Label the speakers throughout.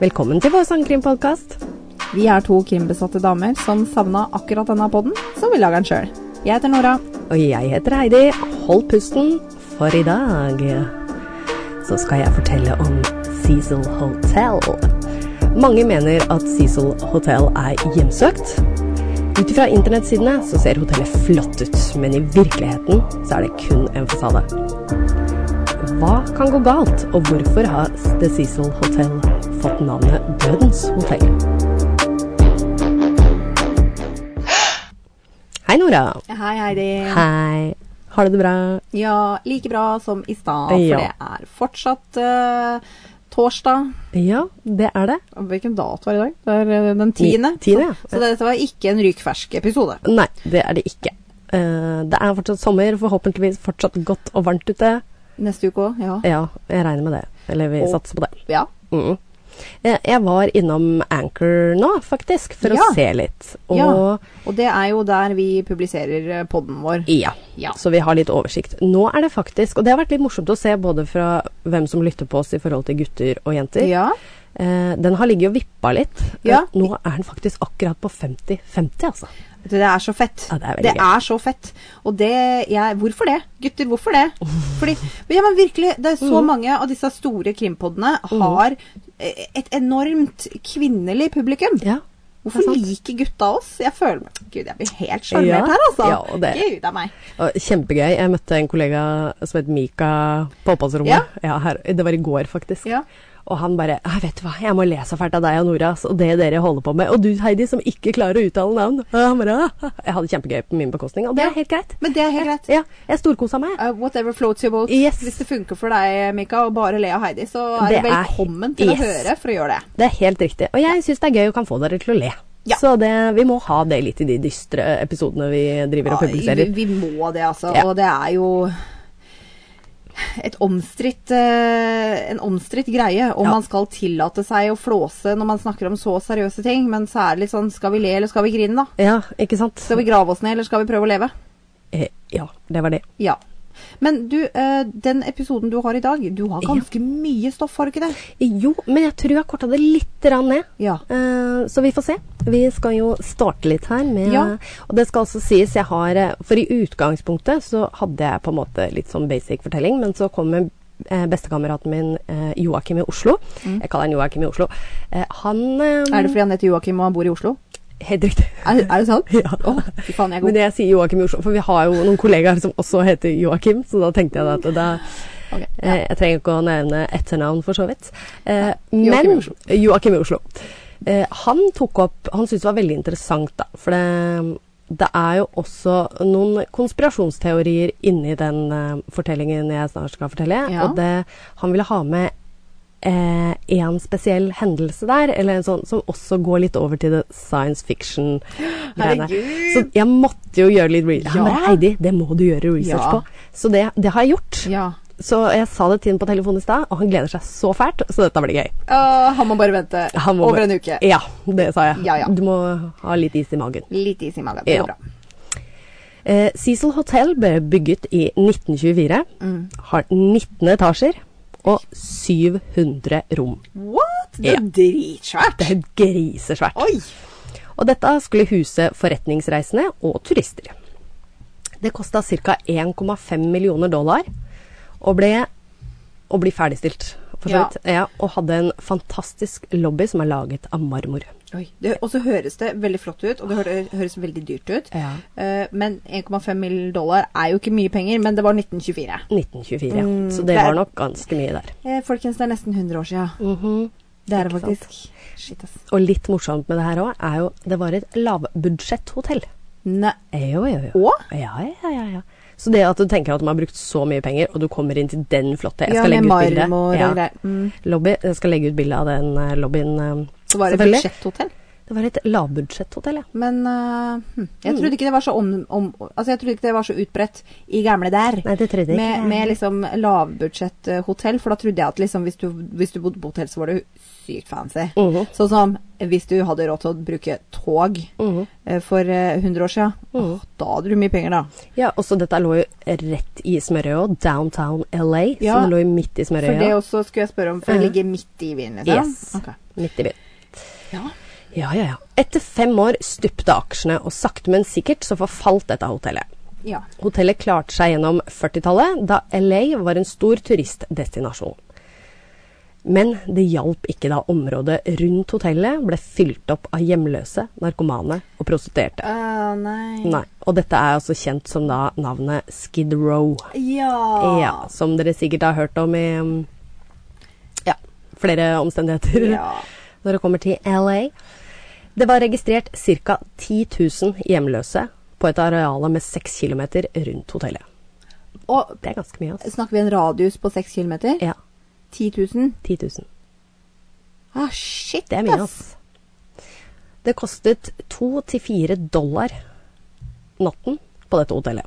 Speaker 1: Velkommen til vår sangkrimpodkast.
Speaker 2: Vi er to krimbesatte damer som savna akkurat denne podden, så vi lager den sjøl. Jeg heter Nora.
Speaker 1: Og jeg heter Heidi. Hold pusten, for i dag så skal jeg fortelle om Cecil Hotel. Mange mener at Cecil Hotel er hjemsøkt. Ut fra internettsidene så ser hotellet flott ut, men i virkeligheten så er det kun en fasade. Hva kan gå galt, og hvorfor har The Cecil Hotel fått navnet Dødens hotell? Hei, Nora.
Speaker 2: Hei, Heidi.
Speaker 1: Hei. Har du det bra?
Speaker 2: Ja, like bra som i stad, for
Speaker 1: Ja.
Speaker 2: det er fortsatt eh, torsdag.
Speaker 1: Ja, det er det.
Speaker 2: Og Hvilken dato er det i dag? Det er eh, den tiende.
Speaker 1: tiende, ja.
Speaker 2: Så, så dette var ikke en rykfersk episode.
Speaker 1: Nei, det er det ikke. Eh, det er fortsatt sommer, forhåpentligvis fortsatt godt og varmt ute.
Speaker 2: Neste uke òg, ja.
Speaker 1: Ja, jeg regner med det. Eller vi
Speaker 2: Og-
Speaker 1: satser på det.
Speaker 2: ja.
Speaker 1: Mm. Eh, Jeg var innom Anchor nå, faktisk, for
Speaker 2: Ja.
Speaker 1: å se litt. Og
Speaker 2: ja.
Speaker 1: ja.
Speaker 2: Og det er jo der vi publiserer eh, podden vår. Ja.
Speaker 1: så vi har litt oversikt. Nå er det faktisk, og det har vært litt morsomt å se både fra hvem som lytter på oss i forhold til gutter og jenter.
Speaker 2: Ja.
Speaker 1: Eh, den har ligget og vippa litt.
Speaker 2: Ja.
Speaker 1: Eh, Nå er den faktisk akkurat på 50-50, altså.
Speaker 2: Vet du, Det er så fett.
Speaker 1: Ja, det er veldig
Speaker 2: det
Speaker 1: gøy.
Speaker 2: er så fett. Og det jeg, Hvorfor det? Gutter, hvorfor det? Fordi, men ja, men virkelig, det er så
Speaker 1: Mm.
Speaker 2: mange av disse store krimpodene har eh, et enormt kvinnelig publikum.
Speaker 1: Ja, det
Speaker 2: Hvorfor
Speaker 1: er sant.
Speaker 2: liker gutta oss? Jeg føler meg Gud, jeg blir helt sjarmert
Speaker 1: Ja.
Speaker 2: her, altså.
Speaker 1: Ja, og det-
Speaker 2: Gud a meg.
Speaker 1: Og Kjempegøy. Jeg møtte en kollega som het Mika på
Speaker 2: Ja.
Speaker 1: oppholdsrommet. Ja, her, det var i går, faktisk.
Speaker 2: Ja.
Speaker 1: Og han bare «Æ, 'Vet du hva, jeg må le så fælt av deg og Nora ass, og det dere holder på med.' Og du, Heidi, som ikke klarer å uttale navn. Og han bare, «Ah.» jeg hadde kjempegøy på min bekostning, og det
Speaker 2: Ja.
Speaker 1: er helt greit.
Speaker 2: Men det er helt greit.
Speaker 1: Ja, jeg storkosa meg.
Speaker 2: Uh, whatever floats your boat.
Speaker 1: Yes.
Speaker 2: Hvis det funker for deg, Mika, å bare le av Heidi, så er
Speaker 1: Det
Speaker 2: det,
Speaker 1: er-
Speaker 2: velkommen til
Speaker 1: Yes.
Speaker 2: å høre for å gjøre det.
Speaker 1: Det er helt riktig. Og jeg syns det er gøy og kan få dere til å le.
Speaker 2: Ja.
Speaker 1: Så det, vi må ha det litt i de dystre episodene vi driver og
Speaker 2: Ja,
Speaker 1: publiserer.
Speaker 2: Vi, vi må det, altså.
Speaker 1: Ja.
Speaker 2: Og det er jo et omstridt, eh, en omstridt greie om
Speaker 1: Ja.
Speaker 2: man skal tillate seg å flåse når man snakker om så seriøse ting. Men så er det litt sånn skal vi le, eller skal vi grine, da?
Speaker 1: Ja, ikke sant?
Speaker 2: Skal vi grave oss ned, eller skal vi prøve å leve?
Speaker 1: Eh, Ja, det var det.
Speaker 2: Ja. Men du, eh, den episoden du har i dag, du har ganske mye stoff, har du ikke det?
Speaker 1: Jo, men jeg tror jeg korta det litt grann ned.
Speaker 2: Ja.
Speaker 1: Eh, så vi får se. Vi skal jo starte litt her med
Speaker 2: Ja.
Speaker 1: Og det skal også sies, jeg har eh, For i utgangspunktet så hadde jeg på en måte litt sånn basic fortelling, men så kommer eh, bestekameraten min eh, Joakim i Oslo. Jeg kaller han Joakim i Oslo. Eh, han eh,
Speaker 2: Mm. Er det fordi han heter Joakim og han bor i Oslo?
Speaker 1: Helt riktig.
Speaker 2: Er, er det sant?
Speaker 1: Ja.
Speaker 2: Å, fy faen, jeg er
Speaker 1: Men
Speaker 2: god.
Speaker 1: jeg sier Joakim i Oslo, for vi har jo noen kollegaer som også heter Joakim, så da tenkte jeg at da
Speaker 2: Ok, ja.
Speaker 1: eh, Jeg trenger ikke å nevne etternavn, for så vidt. Eh,
Speaker 2: Joakim i
Speaker 1: men
Speaker 2: Oslo.
Speaker 1: Joakim i Oslo. Eh, han tok opp Han syntes det var veldig interessant, da. For det, det er jo også noen konspirasjonsteorier inni den eh, fortellingen jeg snart skal fortelle.
Speaker 2: Ja.
Speaker 1: Og det Han ville ha med eh, en spesiell hendelse der, eller en sånn som også går litt over til det science fiction-greiene.
Speaker 2: Herregud!
Speaker 1: Så jeg måtte jo gjøre litt research.
Speaker 2: Ja.
Speaker 1: Han bare, Heidi, det må du gjøre research
Speaker 2: Ja.
Speaker 1: på. Så det, det har jeg gjort.
Speaker 2: Ja.
Speaker 1: Så jeg sa det til ham på telefonen i stad, og han gleder seg så fælt, så dette blir gøy.
Speaker 2: Å, han må bare vente
Speaker 1: Han må
Speaker 2: over
Speaker 1: bare-
Speaker 2: en uke.
Speaker 1: Ja, det sa jeg.
Speaker 2: Ja, ja.
Speaker 1: Du må ha litt is i magen.
Speaker 2: Litt is i magen. Det
Speaker 1: Ja.
Speaker 2: går bra.
Speaker 1: Eh, Cecil Hotel ble bygget i 1924.
Speaker 2: Mm.
Speaker 1: Har 19 etasjer og 700 rom.
Speaker 2: What? Det er
Speaker 1: Ja.
Speaker 2: dritsvært!
Speaker 1: Det er grisesvært.
Speaker 2: Oi!
Speaker 1: Og dette skulle huse forretningsreisende og turister. Det kosta ca. 1,5 millioner dollar og ble og bli ferdigstilt, for så
Speaker 2: Ja.
Speaker 1: vidt. Ja, og hadde en fantastisk lobby som er laget av marmor.
Speaker 2: Oi. Det, og så høres det veldig flott ut, og det hø- høres veldig dyrt ut.
Speaker 1: Ja.
Speaker 2: Eh, men 1,5 mill. dollar er jo ikke mye penger, men det var 1924.
Speaker 1: 1924, ja. så
Speaker 2: Mm, det
Speaker 1: det
Speaker 2: er-
Speaker 1: var nok ganske mye der.
Speaker 2: Eh, folkens, det er nesten 100 år siden. Det er det
Speaker 1: Mhm. Ikke sant?
Speaker 2: faktisk. Shit, ass.
Speaker 1: Og litt morsomt med det her òg, er jo det var et lavbudsjetthotell.
Speaker 2: Nei.
Speaker 1: Jo, jo, jo.
Speaker 2: Å?
Speaker 1: Ja, ja, ja, ja. Så det at du tenker at de har brukt så mye penger, og du kommer inn til den flotte Jeg
Speaker 2: Ja,
Speaker 1: skal
Speaker 2: med
Speaker 1: legge ut bilde.
Speaker 2: marmor og greier. Mm.
Speaker 1: Lobby. Jeg skal legge ut bilde av den eh, lobbyen. eh,
Speaker 2: Så var det
Speaker 1: selvfølgelig.
Speaker 2: budsjetthotell.
Speaker 1: Det var et lavbudsjetthotell, ja.
Speaker 2: Men eh, hm, jeg
Speaker 1: Mm.
Speaker 2: trodde ikke det var så om, om Altså, jeg trodde ikke det var så utbredt i gamle der.
Speaker 1: Nei, det trodde jeg ikke.
Speaker 2: Med, med liksom lavbudsjetthotell, for da trodde jeg at liksom hvis du, hvis du bodde på hotell, så var det sykt fancy.
Speaker 1: Mhm.
Speaker 2: Sånn som hvis du hadde råd til å bruke tog
Speaker 1: Mhm.
Speaker 2: eh, for eh, 100 år siden. Åh, da hadde du mye penger, da.
Speaker 1: Ja, også dette lå jo rett i smørøya, downtown LA,
Speaker 2: Ja,
Speaker 1: som lå jo midt i
Speaker 2: For det
Speaker 1: smørøya.
Speaker 2: også skulle jeg spørre om, for det ligger midt i Wien, liksom?
Speaker 1: Mhm. Yes.
Speaker 2: Ok.
Speaker 1: Midt i byen.
Speaker 2: Ja.
Speaker 1: Ja, ja, ja. Etter fem år stupte aksjene, og sakte, men sikkert så forfalt dette hotellet.
Speaker 2: ja.
Speaker 1: Hotellet klarte seg gjennom 40-tallet, da LA var en stor turistdestinasjon. Men det hjalp ikke da området rundt hotellet ble fylt opp av hjemløse, narkomane og prostituerte.
Speaker 2: Eh, nei.
Speaker 1: Nei, og dette er altså kjent som da navnet Skid Row.
Speaker 2: Ja.
Speaker 1: Ja, som dere sikkert har hørt om i um, ja, flere omstendigheter
Speaker 2: Ja.
Speaker 1: når det kommer til LA. Det var registrert ca. 10 000 hjemløse på et areal med 6 km rundt hotellet.
Speaker 2: Og
Speaker 1: Det er ganske mye, altså.
Speaker 2: snakker vi en radius på 6 kilometer?
Speaker 1: Ja,
Speaker 2: 10 000?
Speaker 1: 10 000.
Speaker 2: Ah, shit,
Speaker 1: Det er mye, altså. Det kostet 2-4 dollar natten på dette hotellet.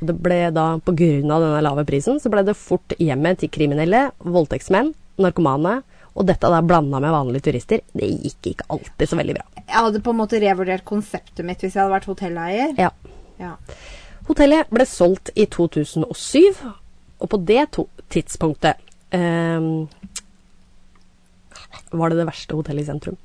Speaker 1: Og Det ble da, på grunn av denne lave prisen, så ble det fort hjemmet til kriminelle, voldtektsmenn, narkomane, og dette da blanda med vanlige turister. Det gikk ikke alltid så veldig bra.
Speaker 2: Jeg hadde på en måte revurdert konseptet mitt hvis jeg hadde vært hotelleier.
Speaker 1: Ja.
Speaker 2: Ja.
Speaker 1: Hotellet ble solgt i 2007, og på det to tidspunktet ehm, var det det verste hotellet i sentrum.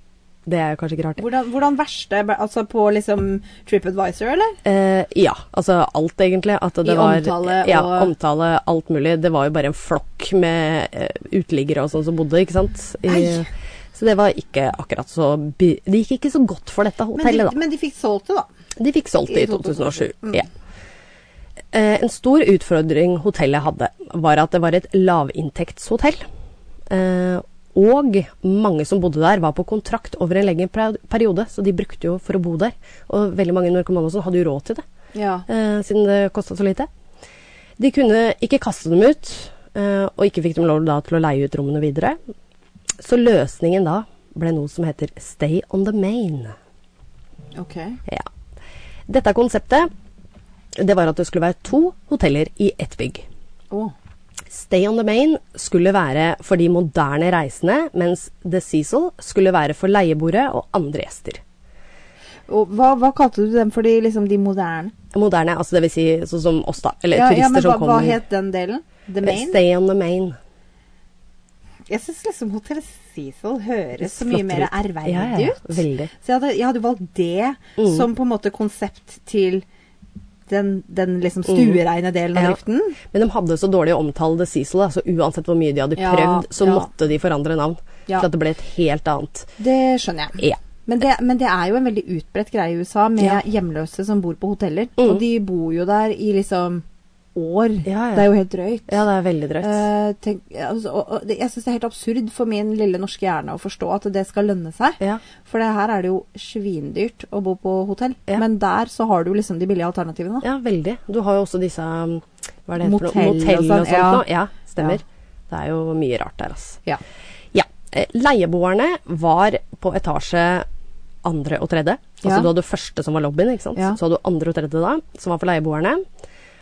Speaker 1: Det er kanskje ikke rart. det.
Speaker 2: Hvordan, hvordan verste Altså på liksom TripAdvisor, eller?
Speaker 1: Eh, ja, altså alt egentlig. At det
Speaker 2: I
Speaker 1: var,
Speaker 2: omtale
Speaker 1: ja,
Speaker 2: og-
Speaker 1: omtale, alt mulig. Det var jo bare en flokk med eh, uteliggere og sånn som bodde, ikke sant.
Speaker 2: Nei.
Speaker 1: så det var ikke akkurat så by Det gikk ikke så godt for dette
Speaker 2: Men de,
Speaker 1: hotellet,
Speaker 2: men de fikk solgt det, da.
Speaker 1: da. De fikk solgt det i
Speaker 2: i 2007,
Speaker 1: 2007. Ja. Eh, en stor utfordring hotellet hadde, var at det var et lavinntektshotell. Eh, og mange som bodde der, var på kontrakt over en lengre per- periode, så de brukte jo for å bo der. Og veldig mange narkomane og sånn hadde jo råd til det
Speaker 2: Ja.
Speaker 1: eh, siden det kosta så lite. De kunne ikke kaste dem ut, eh, og ikke fikk de lov da, til å leie ut rommene videre. Så løsningen da ble noe som heter Stay on the Main.
Speaker 2: Ok.
Speaker 1: Ja. Dette konseptet det var at det skulle være to hoteller i ett bygg.
Speaker 2: Å.
Speaker 1: Stay on the Main skulle være for de moderne reisende, mens The Cecil skulle være for leieboere og andre gjester.
Speaker 2: Og hva, hva kalte du dem for de, liksom, de moderne?
Speaker 1: Moderne, altså det vil si sånn som oss, da. Eller
Speaker 2: Ja, ja,
Speaker 1: turister
Speaker 2: men hva,
Speaker 1: som
Speaker 2: hva
Speaker 1: kommer. Eh,
Speaker 2: het den delen? The Main?
Speaker 1: Stay on the Main.
Speaker 2: Jeg syns liksom Hotell Cecil høres så mye
Speaker 1: Flottere
Speaker 2: mer
Speaker 1: ut.
Speaker 2: ærverdig
Speaker 1: Ja, ja, ja,
Speaker 2: ut.
Speaker 1: veldig. Mm.
Speaker 2: Så jeg hadde, jeg hadde valgt det som på en måte konsept til den, den liksom stuereine delen
Speaker 1: Mm.
Speaker 2: av
Speaker 1: Ja.
Speaker 2: driften.
Speaker 1: Men de hadde så dårlig omtale The Cecil, da, så uansett hvor mye de hadde
Speaker 2: Ja,
Speaker 1: prøvd, så
Speaker 2: ja.
Speaker 1: måtte de forandre navn.
Speaker 2: Ja.
Speaker 1: Så at det ble et helt annet.
Speaker 2: Det skjønner jeg.
Speaker 1: Ja.
Speaker 2: Men det, men det er jo en veldig utbredt greie i USA med
Speaker 1: Ja. Mm.
Speaker 2: hjemløse som bor på hoteller. Og de bor jo der i liksom år.
Speaker 1: Ja, ja.
Speaker 2: Det er jo helt drøyt.
Speaker 1: Ja, det er veldig drøyt.
Speaker 2: Eh, tenk, altså, og, og, det, jeg syns det er helt absurd for min lille norske hjerne å forstå at det skal lønne seg.
Speaker 1: Ja.
Speaker 2: For det her er det jo svindyrt å bo på hotell.
Speaker 1: Ja.
Speaker 2: Men der så har du liksom de billige alternativene. da.
Speaker 1: ja, veldig. Du har jo også disse um, hva er det heter for noe?
Speaker 2: Motell og
Speaker 1: Motell og
Speaker 2: sånn,
Speaker 1: sånt.
Speaker 2: ja.
Speaker 1: nå. ja stemmer.
Speaker 2: Ja.
Speaker 1: Det er jo mye rart der, altså.
Speaker 2: Ja.
Speaker 1: Ja. eh, Leieboerne var på etasje andre og tredje. Altså
Speaker 2: Ja.
Speaker 1: du hadde første som var lobbyen, ikke sant.
Speaker 2: Ja.
Speaker 1: Så hadde du andre og tredje da, som var for leieboerne.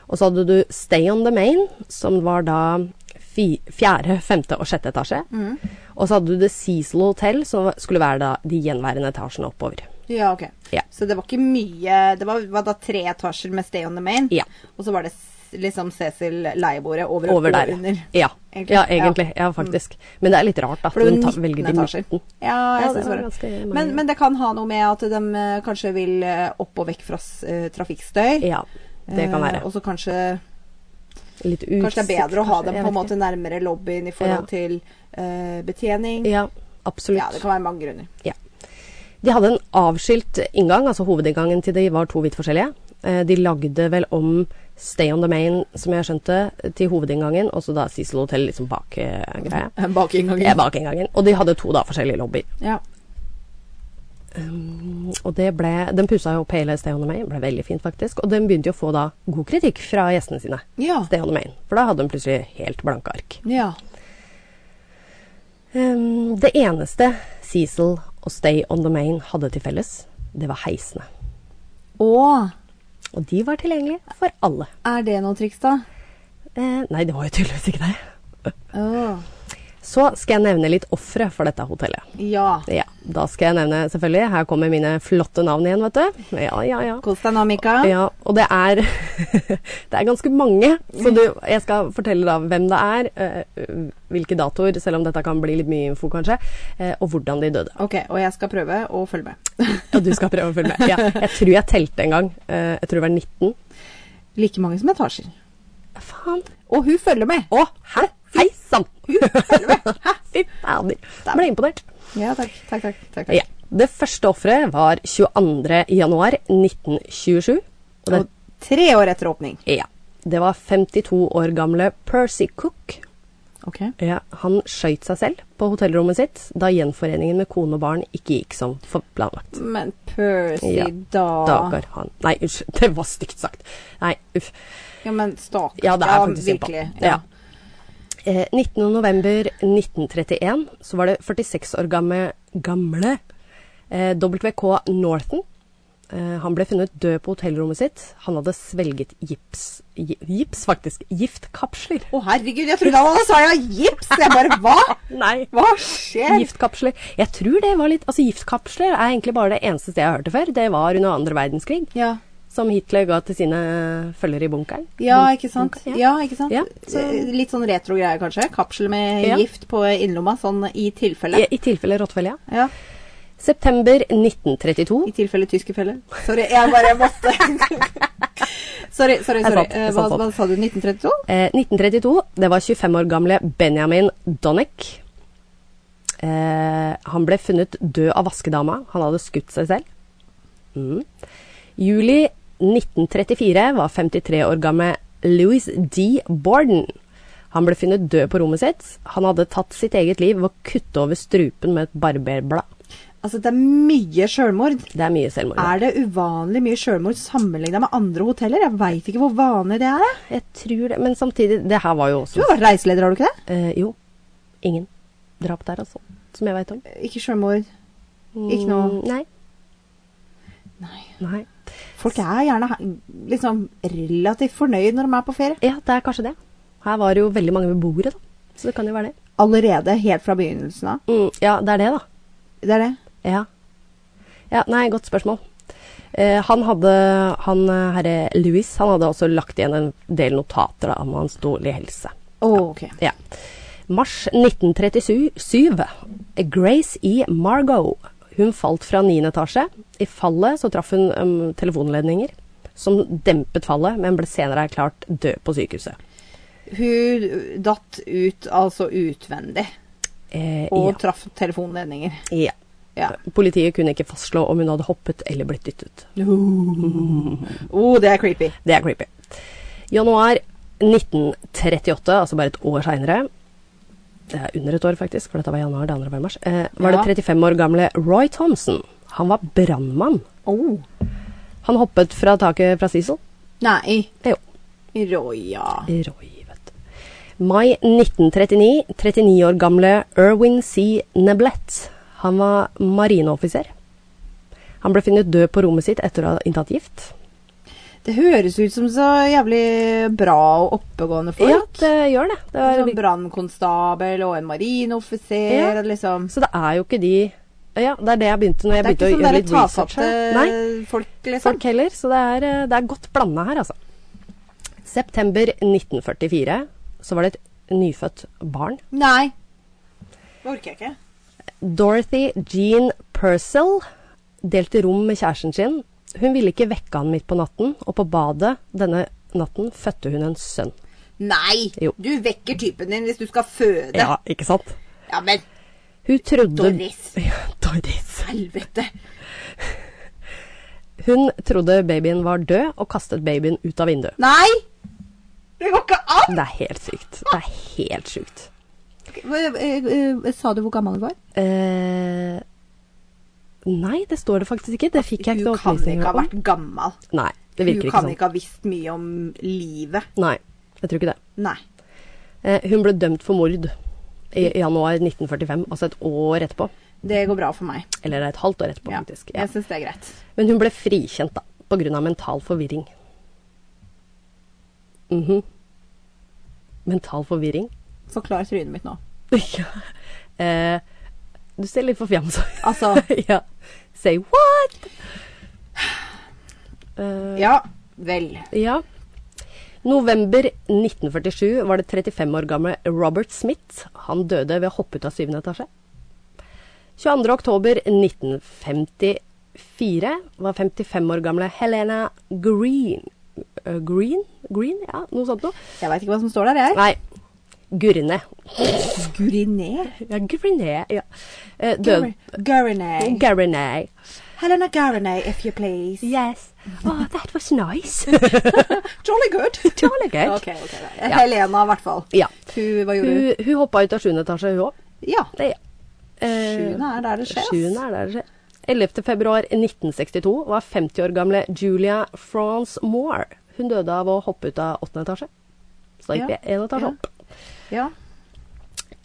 Speaker 1: Og så hadde du Stay on the Main, som var da fi, fjerde, femte og sjette etasje.
Speaker 2: Mm.
Speaker 1: Og så hadde du The Cecil Hotel, som skulle være da de gjenværende etasjene oppover.
Speaker 2: Ja, ok.
Speaker 1: Ja.
Speaker 2: Så det var ikke mye Det var, var da tre etasjer med Stay on the Main.
Speaker 1: Ja.
Speaker 2: Og så var det s- liksom Cecil leieboere over,
Speaker 1: Over
Speaker 2: og
Speaker 1: der.
Speaker 2: under.
Speaker 1: Ja.
Speaker 2: Egentlig.
Speaker 1: ja, egentlig. Ja, faktisk. Men det er litt rart, da.
Speaker 2: For det
Speaker 1: at de
Speaker 2: var
Speaker 1: tar-
Speaker 2: 19
Speaker 1: velger de
Speaker 2: etasjer.
Speaker 1: 19.
Speaker 2: Ja,
Speaker 1: Ja,
Speaker 2: jeg
Speaker 1: det
Speaker 2: synes
Speaker 1: var
Speaker 2: det var
Speaker 1: ganske mange.
Speaker 2: Men, men det kan ha noe med at de eh, kanskje vil eh, opp og vekk fra s- eh, trafikkstøy.
Speaker 1: Ja, det kan
Speaker 2: Eh,
Speaker 1: være.
Speaker 2: Og så kanskje,
Speaker 1: Litt utsikt.
Speaker 2: kanskje det er bedre å ha dem
Speaker 1: jeg
Speaker 2: på en
Speaker 1: vet ikke.
Speaker 2: måte nærmere lobbyen i
Speaker 1: Ja.
Speaker 2: forhold til eh, betjening.
Speaker 1: Ja, absolutt.
Speaker 2: Ja, det kan være mange grunner.
Speaker 1: Ja. De hadde en avskilt inngang, altså hovedinngangen til de var to vidt forskjellige. Eh, De lagde vel om Stay on the Main, som jeg skjønte, til hovedinngangen, og så da Cecil Hotel liksom bak eh, greia.
Speaker 2: Bak
Speaker 1: Eh,
Speaker 2: inngangen.
Speaker 1: Bak inngangen. Og de hadde to da forskjellige lobbyer.
Speaker 2: Ja.
Speaker 1: Mm, Og det ble Den pussa jo opp hele Stay on the Main, ble veldig fint faktisk. Og den begynte jo å få da god kritikk fra gjestene sine.
Speaker 2: Ja.
Speaker 1: Stay on the Main. For da hadde de plutselig helt blanke ark.
Speaker 2: ja.
Speaker 1: Um, det eneste Cecil og og Stay on the Main hadde til felles, det var heisene.
Speaker 2: Og
Speaker 1: Og de var tilgjengelige for alle.
Speaker 2: er det noe triks, da?
Speaker 1: Eh, nei, det var jo tydeligvis ikke det.
Speaker 2: Åh.
Speaker 1: Så skal jeg nevne litt ofre for dette hotellet.
Speaker 2: Ja.
Speaker 1: Ja, da skal jeg nevne, selvfølgelig. Her kommer mine flotte navn igjen, vet du. Ja, ja, ja.
Speaker 2: Kos deg nå, Mika.
Speaker 1: Ja, og det er Det er ganske mange, så du, jeg skal fortelle da hvem det er, eh, hvilke datoer, selv om dette kan bli litt mye info kanskje, eh, og hvordan de døde.
Speaker 2: Ok, og jeg skal prøve å følge med.
Speaker 1: Og du skal prøve å følge med. Ja, jeg tror jeg telte en gang. eh, Jeg tror det var 19.
Speaker 2: Like mange som etasjer.
Speaker 1: Faen.
Speaker 2: Og hun følger med!
Speaker 1: Å, hæ? Hei sann! Fy fader. Jeg ble imponert.
Speaker 2: Ja, takk. Takk, takk. takk, takk.
Speaker 1: Ja. Det første offeret var 22. januar 1927. Og det,
Speaker 2: Og tre år etter åpning.
Speaker 1: ja, det var 52 år gamle Percy Cook.
Speaker 2: Ok.
Speaker 1: Ja, han skøyt seg selv på hotellrommet sitt da gjenforeningen med kone og barn ikke gikk som for- planlagt.
Speaker 2: Men Percy,
Speaker 1: Ja,
Speaker 2: da
Speaker 1: Dagar han Nei, unnskyld, det var stygt sagt. Nei, uff.
Speaker 2: Ja, men stakkar.
Speaker 1: Ja, det er faktisk synd på han.
Speaker 2: virkelig.
Speaker 1: Ja. Eh, 19.11.1931 så var det 46 år gamle, gamle eh, WK Northen. Eh, han ble funnet død på hotellrommet sitt. Han hadde svelget gips, gi- gips faktisk, giftkapsler.
Speaker 2: Å, herregud, jeg trodde han hadde svelga gips! Jeg bare Hva?
Speaker 1: Nei.
Speaker 2: Hva skjer?
Speaker 1: Giftkapsler. Jeg tror det var litt Altså, giftkapsler er egentlig bare det eneste stedet jeg har hørt det før. Det var under andre verdenskrig,
Speaker 2: Ja.
Speaker 1: som Hitler ga til sine følgere i bunkeren.
Speaker 2: ja, ikke sant.
Speaker 1: Ja.
Speaker 2: Ja, ikke sant?
Speaker 1: Ja, så-
Speaker 2: Eh, Litt sånn retro greier, kanskje. Kapsel med
Speaker 1: Ja.
Speaker 2: gift på innerlomma, sånn i tilfelle.
Speaker 1: I, i tilfelle rottefelle, ja.
Speaker 2: Ja.
Speaker 1: September 1932.
Speaker 2: I tilfelle tyske feller. Sorry, jeg bare måtte Sorry, sorry.
Speaker 1: Jeg
Speaker 2: sorry.
Speaker 1: satt, jeg
Speaker 2: Eh,
Speaker 1: satt,
Speaker 2: Hva,
Speaker 1: satt.
Speaker 2: hva sa du? 1932?
Speaker 1: Eh, 1932, det var 25 år gamle Benjamin Donick. Eh, han ble funnet død av vaskedama. Han hadde skutt seg selv. Mm. Juli 1934 var 53 år gamle Louis D. Borden. Han ble funnet død på rommet sitt. Han hadde tatt sitt eget liv ved å kutte over strupen med et barberblad.
Speaker 2: Altså, det er mye sjølmord.
Speaker 1: Det er mye selvmord.
Speaker 2: Er det uvanlig mye sjølmord sammenligna med andre hoteller? Jeg veit ikke hvor vanlig det er. jeg.
Speaker 1: Jeg tror det, men samtidig Det her var jo
Speaker 2: Du
Speaker 1: også
Speaker 2: har vært reiseleder, har du ikke det?
Speaker 1: eh, Jo, ingen drap der, altså. Som jeg veit om.
Speaker 2: Ikke sjølmord. Ikke noe
Speaker 1: Mm, Nei.
Speaker 2: Nei.
Speaker 1: Nei.
Speaker 2: Folk er gjerne he- liksom relativt fornøyd når de er på ferie.
Speaker 1: Ja, det er kanskje det. Her var det jo veldig mange beboere, da. Så det kan jo være det.
Speaker 2: Allerede helt fra begynnelsen av.
Speaker 1: Mm, ja, det er det, da.
Speaker 2: Det er det.
Speaker 1: Ja. ja nei, godt spørsmål. Eh, han hadde, han eh, herre Louis, han hadde også lagt igjen en del notater da, om hans dårlige helse.
Speaker 2: Å, ok.
Speaker 1: Ja. Mars 1937. Grace E. Margot. Hun falt fra 9. etasje. I fallet så traff hun em, telefonledninger, som dempet fallet, men ble senere erklært død på sykehuset.
Speaker 2: Hun datt ut, altså utvendig,
Speaker 1: Eh,
Speaker 2: og
Speaker 1: ja.
Speaker 2: traff telefonledninger.
Speaker 1: ja.
Speaker 2: Ja.
Speaker 1: Politiet kunne ikke fastslå om hun hadde hoppet eller blitt dyttet.
Speaker 2: Oh, det er creepy.
Speaker 1: Det er creepy. Januar 1938, altså bare et år seinere Det er under et år, faktisk, for dette var januar, det andre var i mars. Eh, var
Speaker 2: Ja.
Speaker 1: det 35 år gamle Roy Thompson. Han var brannmann.
Speaker 2: Oh.
Speaker 1: Han hoppet fra taket fra Cecil.
Speaker 2: Nei.
Speaker 1: Det er jo
Speaker 2: Roya.
Speaker 1: Roy, vet du. Mai 1939, 39 år gamle Erwin C. Neblett. Han var marineoffiser. Han ble funnet død på rommet sitt etter å ha inntatt gift.
Speaker 2: Det høres ut som så jævlig bra og oppegående folk.
Speaker 1: Ja, det eh, gjør det. det
Speaker 2: En
Speaker 1: var,
Speaker 2: sånn brannkonstabel og en marinoffiser
Speaker 1: Ja.
Speaker 2: og liksom
Speaker 1: Så det er jo ikke de Ja, det er det jeg begynte når jeg
Speaker 2: Det
Speaker 1: begynte
Speaker 2: er ikke
Speaker 1: å
Speaker 2: sånn
Speaker 1: gjøre
Speaker 2: derre
Speaker 1: litt research.
Speaker 2: tafatte
Speaker 1: her. Nei,
Speaker 2: folk, liksom.
Speaker 1: folk heller. Så det er, eh, det er godt blanda her, altså. September 1944 så var det et nyfødt barn.
Speaker 2: Nei. Det orker jeg ikke.
Speaker 1: Dorothy Jean Purcell delte rom med kjæresten sin. Hun ville ikke vekke han midt på natten, og på badet denne natten fødte hun en sønn.
Speaker 2: Nei!
Speaker 1: Jo.
Speaker 2: Du vekker typen din hvis du skal føde.
Speaker 1: Ja, ikke sant?
Speaker 2: Ja, men
Speaker 1: Hun trodde
Speaker 2: Doris.
Speaker 1: Ja, Doris.
Speaker 2: helvete.
Speaker 1: Hun trodde babyen var død, og kastet babyen ut av vinduet.
Speaker 2: Nei! Det går ikke an!
Speaker 1: Det er helt sykt. Det er helt sykt.
Speaker 2: Sa du hvor gammel du var?
Speaker 1: Eh, nei, det står det faktisk ikke. Det fikk jeg ikke
Speaker 2: Hun
Speaker 1: noe
Speaker 2: kan
Speaker 1: opplysninger
Speaker 2: ikke ha
Speaker 1: om.
Speaker 2: vært gammel.
Speaker 1: Nei, det
Speaker 2: Hun
Speaker 1: virker ikke
Speaker 2: kan
Speaker 1: sånn.
Speaker 2: ikke ha visst mye om livet.
Speaker 1: Nei, jeg tror ikke det.
Speaker 2: Nei.
Speaker 1: Eh, hun ble dømt for mord i januar 1945, altså et år etterpå.
Speaker 2: Det går bra for meg.
Speaker 1: Eller det er et halvt år etterpå,
Speaker 2: Ja,
Speaker 1: faktisk. Ja.
Speaker 2: jeg syns det er greit.
Speaker 1: Men hun ble frikjent da, pga. mental forvirring. Mhm. Mental forvirring?
Speaker 2: Forklar trynet mitt nå.
Speaker 1: ja. Eh, du ser litt forfjamsa ut.
Speaker 2: Altså,
Speaker 1: ja. Say what? Eh,
Speaker 2: ja vel.
Speaker 1: ja. November 1947 var det 35 år gamle Robert Smith. Han døde ved å hoppe ut av syvende etasje. 22. oktober 1954 var 55 år gamle Helena Green Eh, Green? Green? Ja, noe sånt noe.
Speaker 2: Jeg veit ikke hva som står der, jeg.
Speaker 1: Nei, Gurne.
Speaker 2: Guriné?
Speaker 1: Ja, Gurne, ja. Eh, Død.
Speaker 2: Guriné.
Speaker 1: Gurne.
Speaker 2: Helena Guriné, if you please.
Speaker 1: Yes. Oh, that was nice.
Speaker 2: Jolly good.
Speaker 1: Jolly good.
Speaker 2: Ok, ok. da. Helena, i hvert fall.
Speaker 1: Ja.
Speaker 2: Hun, hva gjorde hun?
Speaker 1: Hun, hun hoppa ut av sjuende etasje, hun òg.
Speaker 2: Ja.
Speaker 1: Det eh,
Speaker 2: Sjuende er der det skjer. ass.
Speaker 1: Sjuende er der det skjer. 11. februar 1962 var 50 år gamle Julia France Moore. Hun døde av å hoppe ut av åttende etasje. Så da gikk vi
Speaker 2: Ja,
Speaker 1: én etasje
Speaker 2: ja.
Speaker 1: opp.
Speaker 2: Ja.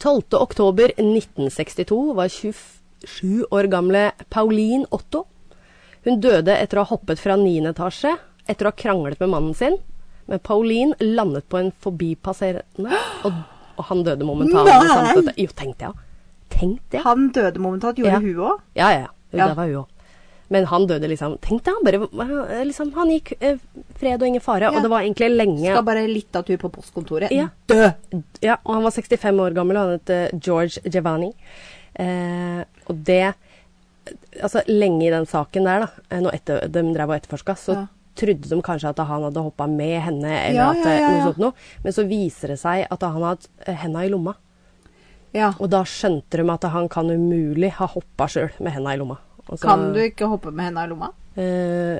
Speaker 1: 12. oktober 1962 var 27 år gamle Pauline Otto. Hun døde etter å ha hoppet fra 9. etasje etter å ha kranglet med mannen sin. Men Pauline landet på en forbipasserende, og, og han døde momentant.
Speaker 2: Nei!
Speaker 1: samtidig. Jo, tenk det, ja. Tenk det.
Speaker 2: Han døde momentant. Gjorde
Speaker 1: Ja.
Speaker 2: hun òg?
Speaker 1: Ja, ja, ja. Jo,
Speaker 2: Ja.
Speaker 1: Det var hun òg. Men han døde liksom Tenk deg, han bare liksom, Han gikk eh, fred og ingen fare,
Speaker 2: Ja.
Speaker 1: og det var egentlig lenge
Speaker 2: Skal bare litt av tur på postkontoret.
Speaker 1: Ja.
Speaker 2: Dø!
Speaker 1: Ja, og han var 65 år gammel, og han het eh, George Giovanni. Eh, og det Altså, lenge i den saken der, da, eh, når etter, de drev og etterforska, så
Speaker 2: Ja.
Speaker 1: trodde de kanskje at han hadde hoppa med henne, eller
Speaker 2: Ja,
Speaker 1: at
Speaker 2: ja,
Speaker 1: eh,
Speaker 2: ja, ja.
Speaker 1: noe sånt noe. Men så viser det seg at han hadde eh, henda i lomma.
Speaker 2: Ja.
Speaker 1: Og da skjønte de at han kan umulig ha hoppa sjøl med henda i lomma. Og så-
Speaker 2: Kan du ikke hoppe med henda i lomma?
Speaker 1: Eh,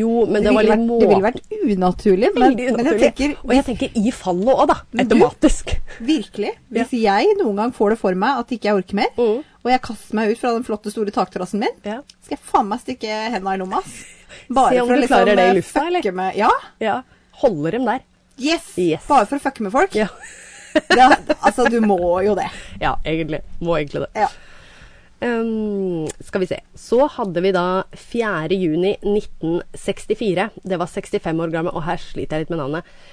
Speaker 1: jo, men det,
Speaker 2: ville
Speaker 1: var litt
Speaker 2: vært,
Speaker 1: må...
Speaker 2: det ville vært unaturlig, men,
Speaker 1: Veldig
Speaker 2: men jeg
Speaker 1: unaturlig.
Speaker 2: tenker
Speaker 1: Og jeg tenker i fallet òg, da.
Speaker 2: Men du-
Speaker 1: Automatisk.
Speaker 2: Virkelig. Hvis jeg noen gang får det for meg at ikke jeg orker mer,
Speaker 1: Mm.
Speaker 2: og jeg kaster meg ut fra den flotte, store takterrassen min,
Speaker 1: Ja.
Speaker 2: skal jeg faen meg stikke henda i lomma. ass. Bare
Speaker 1: Se om
Speaker 2: for å
Speaker 1: du
Speaker 2: liksom
Speaker 1: klarer det i
Speaker 2: eh,
Speaker 1: lufta, eller?
Speaker 2: fucke med Ja!
Speaker 1: Ja. Holder dem der.
Speaker 2: Yes!
Speaker 1: Yes.
Speaker 2: Bare for å fucke med folk.
Speaker 1: Ja.
Speaker 2: Ja, altså, du må jo det.
Speaker 1: ja, egentlig. Må egentlig det.
Speaker 2: Ja.
Speaker 1: Ehm, skal vi se. Så hadde vi da 4. juni 1964. Det var 65 år gammel, og her sliter jeg litt med navnet.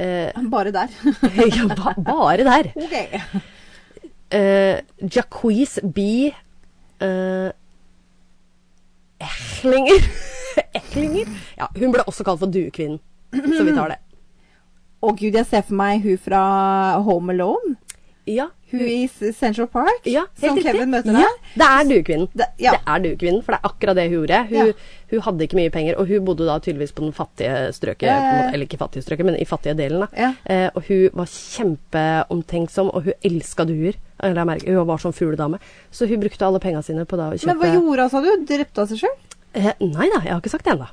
Speaker 1: Eh,
Speaker 2: Bare der.
Speaker 1: ja, ba bare der.
Speaker 2: OK.
Speaker 1: Uh, Jacquees B. eh, Echlinger. Echlinger? Ja, hun ble også kalt for Duekvinnen, så vi tar det.
Speaker 2: Å gud, jeg ser for meg hun fra Home Alone.
Speaker 1: Ja,
Speaker 2: Hun i S- Central Park
Speaker 1: ja helt
Speaker 2: som
Speaker 1: riktig.
Speaker 2: Kevin møter
Speaker 1: ja,
Speaker 2: der.
Speaker 1: Det er Duekvinnen.
Speaker 2: Det- ja.
Speaker 1: Det er Duekvinnen, for det er akkurat det hun gjorde. Hun,
Speaker 2: Ja.
Speaker 1: hun hadde ikke mye penger, og hun bodde da tydeligvis på den fattige strøket,
Speaker 2: Ja, ja, ja.
Speaker 1: på en måte, eller ikke fattige strøket, men i fattige delen, da.
Speaker 2: Ja.
Speaker 1: Eh, og hun var kjempeomtenksom, og hun elska duer. Eller jeg merker, hun var sånn fugledame. Så hun brukte alle penga sine på da å kjøpe
Speaker 2: Men hva gjorde hun, sa du? Drepte hun seg sjøl?
Speaker 1: Eh, nei da, jeg har ikke sagt det ennå.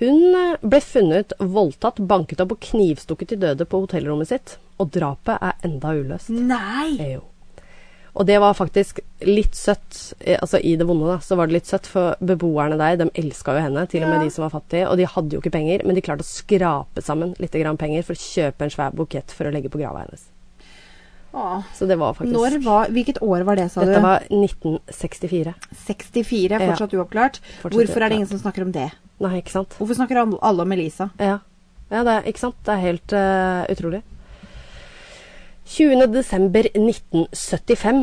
Speaker 1: Hun eh, ble funnet voldtatt, banket opp og knivstukket til døde på hotellrommet sitt. Og drapet er enda uløst.
Speaker 2: Nei!
Speaker 1: Eh, jo. Og det var faktisk litt søtt. eh, Altså i det vonde, da, så var det litt søtt. For beboerne der, de elska jo henne. Til og
Speaker 2: Ja.
Speaker 1: med de som var fattige. Og de hadde jo ikke penger, men de klarte å skrape sammen litt grann penger for å kjøpe en svær bukett for å legge på grava hennes.
Speaker 2: Åh.
Speaker 1: Så det var faktisk
Speaker 2: Når var, hvilket år var det, sa
Speaker 1: Dette
Speaker 2: du?
Speaker 1: var 1964.
Speaker 2: 64, er fortsatt uoppklart.
Speaker 1: Fortsatt
Speaker 2: Hvorfor er
Speaker 1: uoppklart.
Speaker 2: det ingen som snakker om det?
Speaker 1: Nei, ikke sant?
Speaker 2: Hvorfor snakker alle- alle om Elisa?
Speaker 1: Ja, ja det er, ikke sant? Det er helt eh, utrolig. 20. desember 1975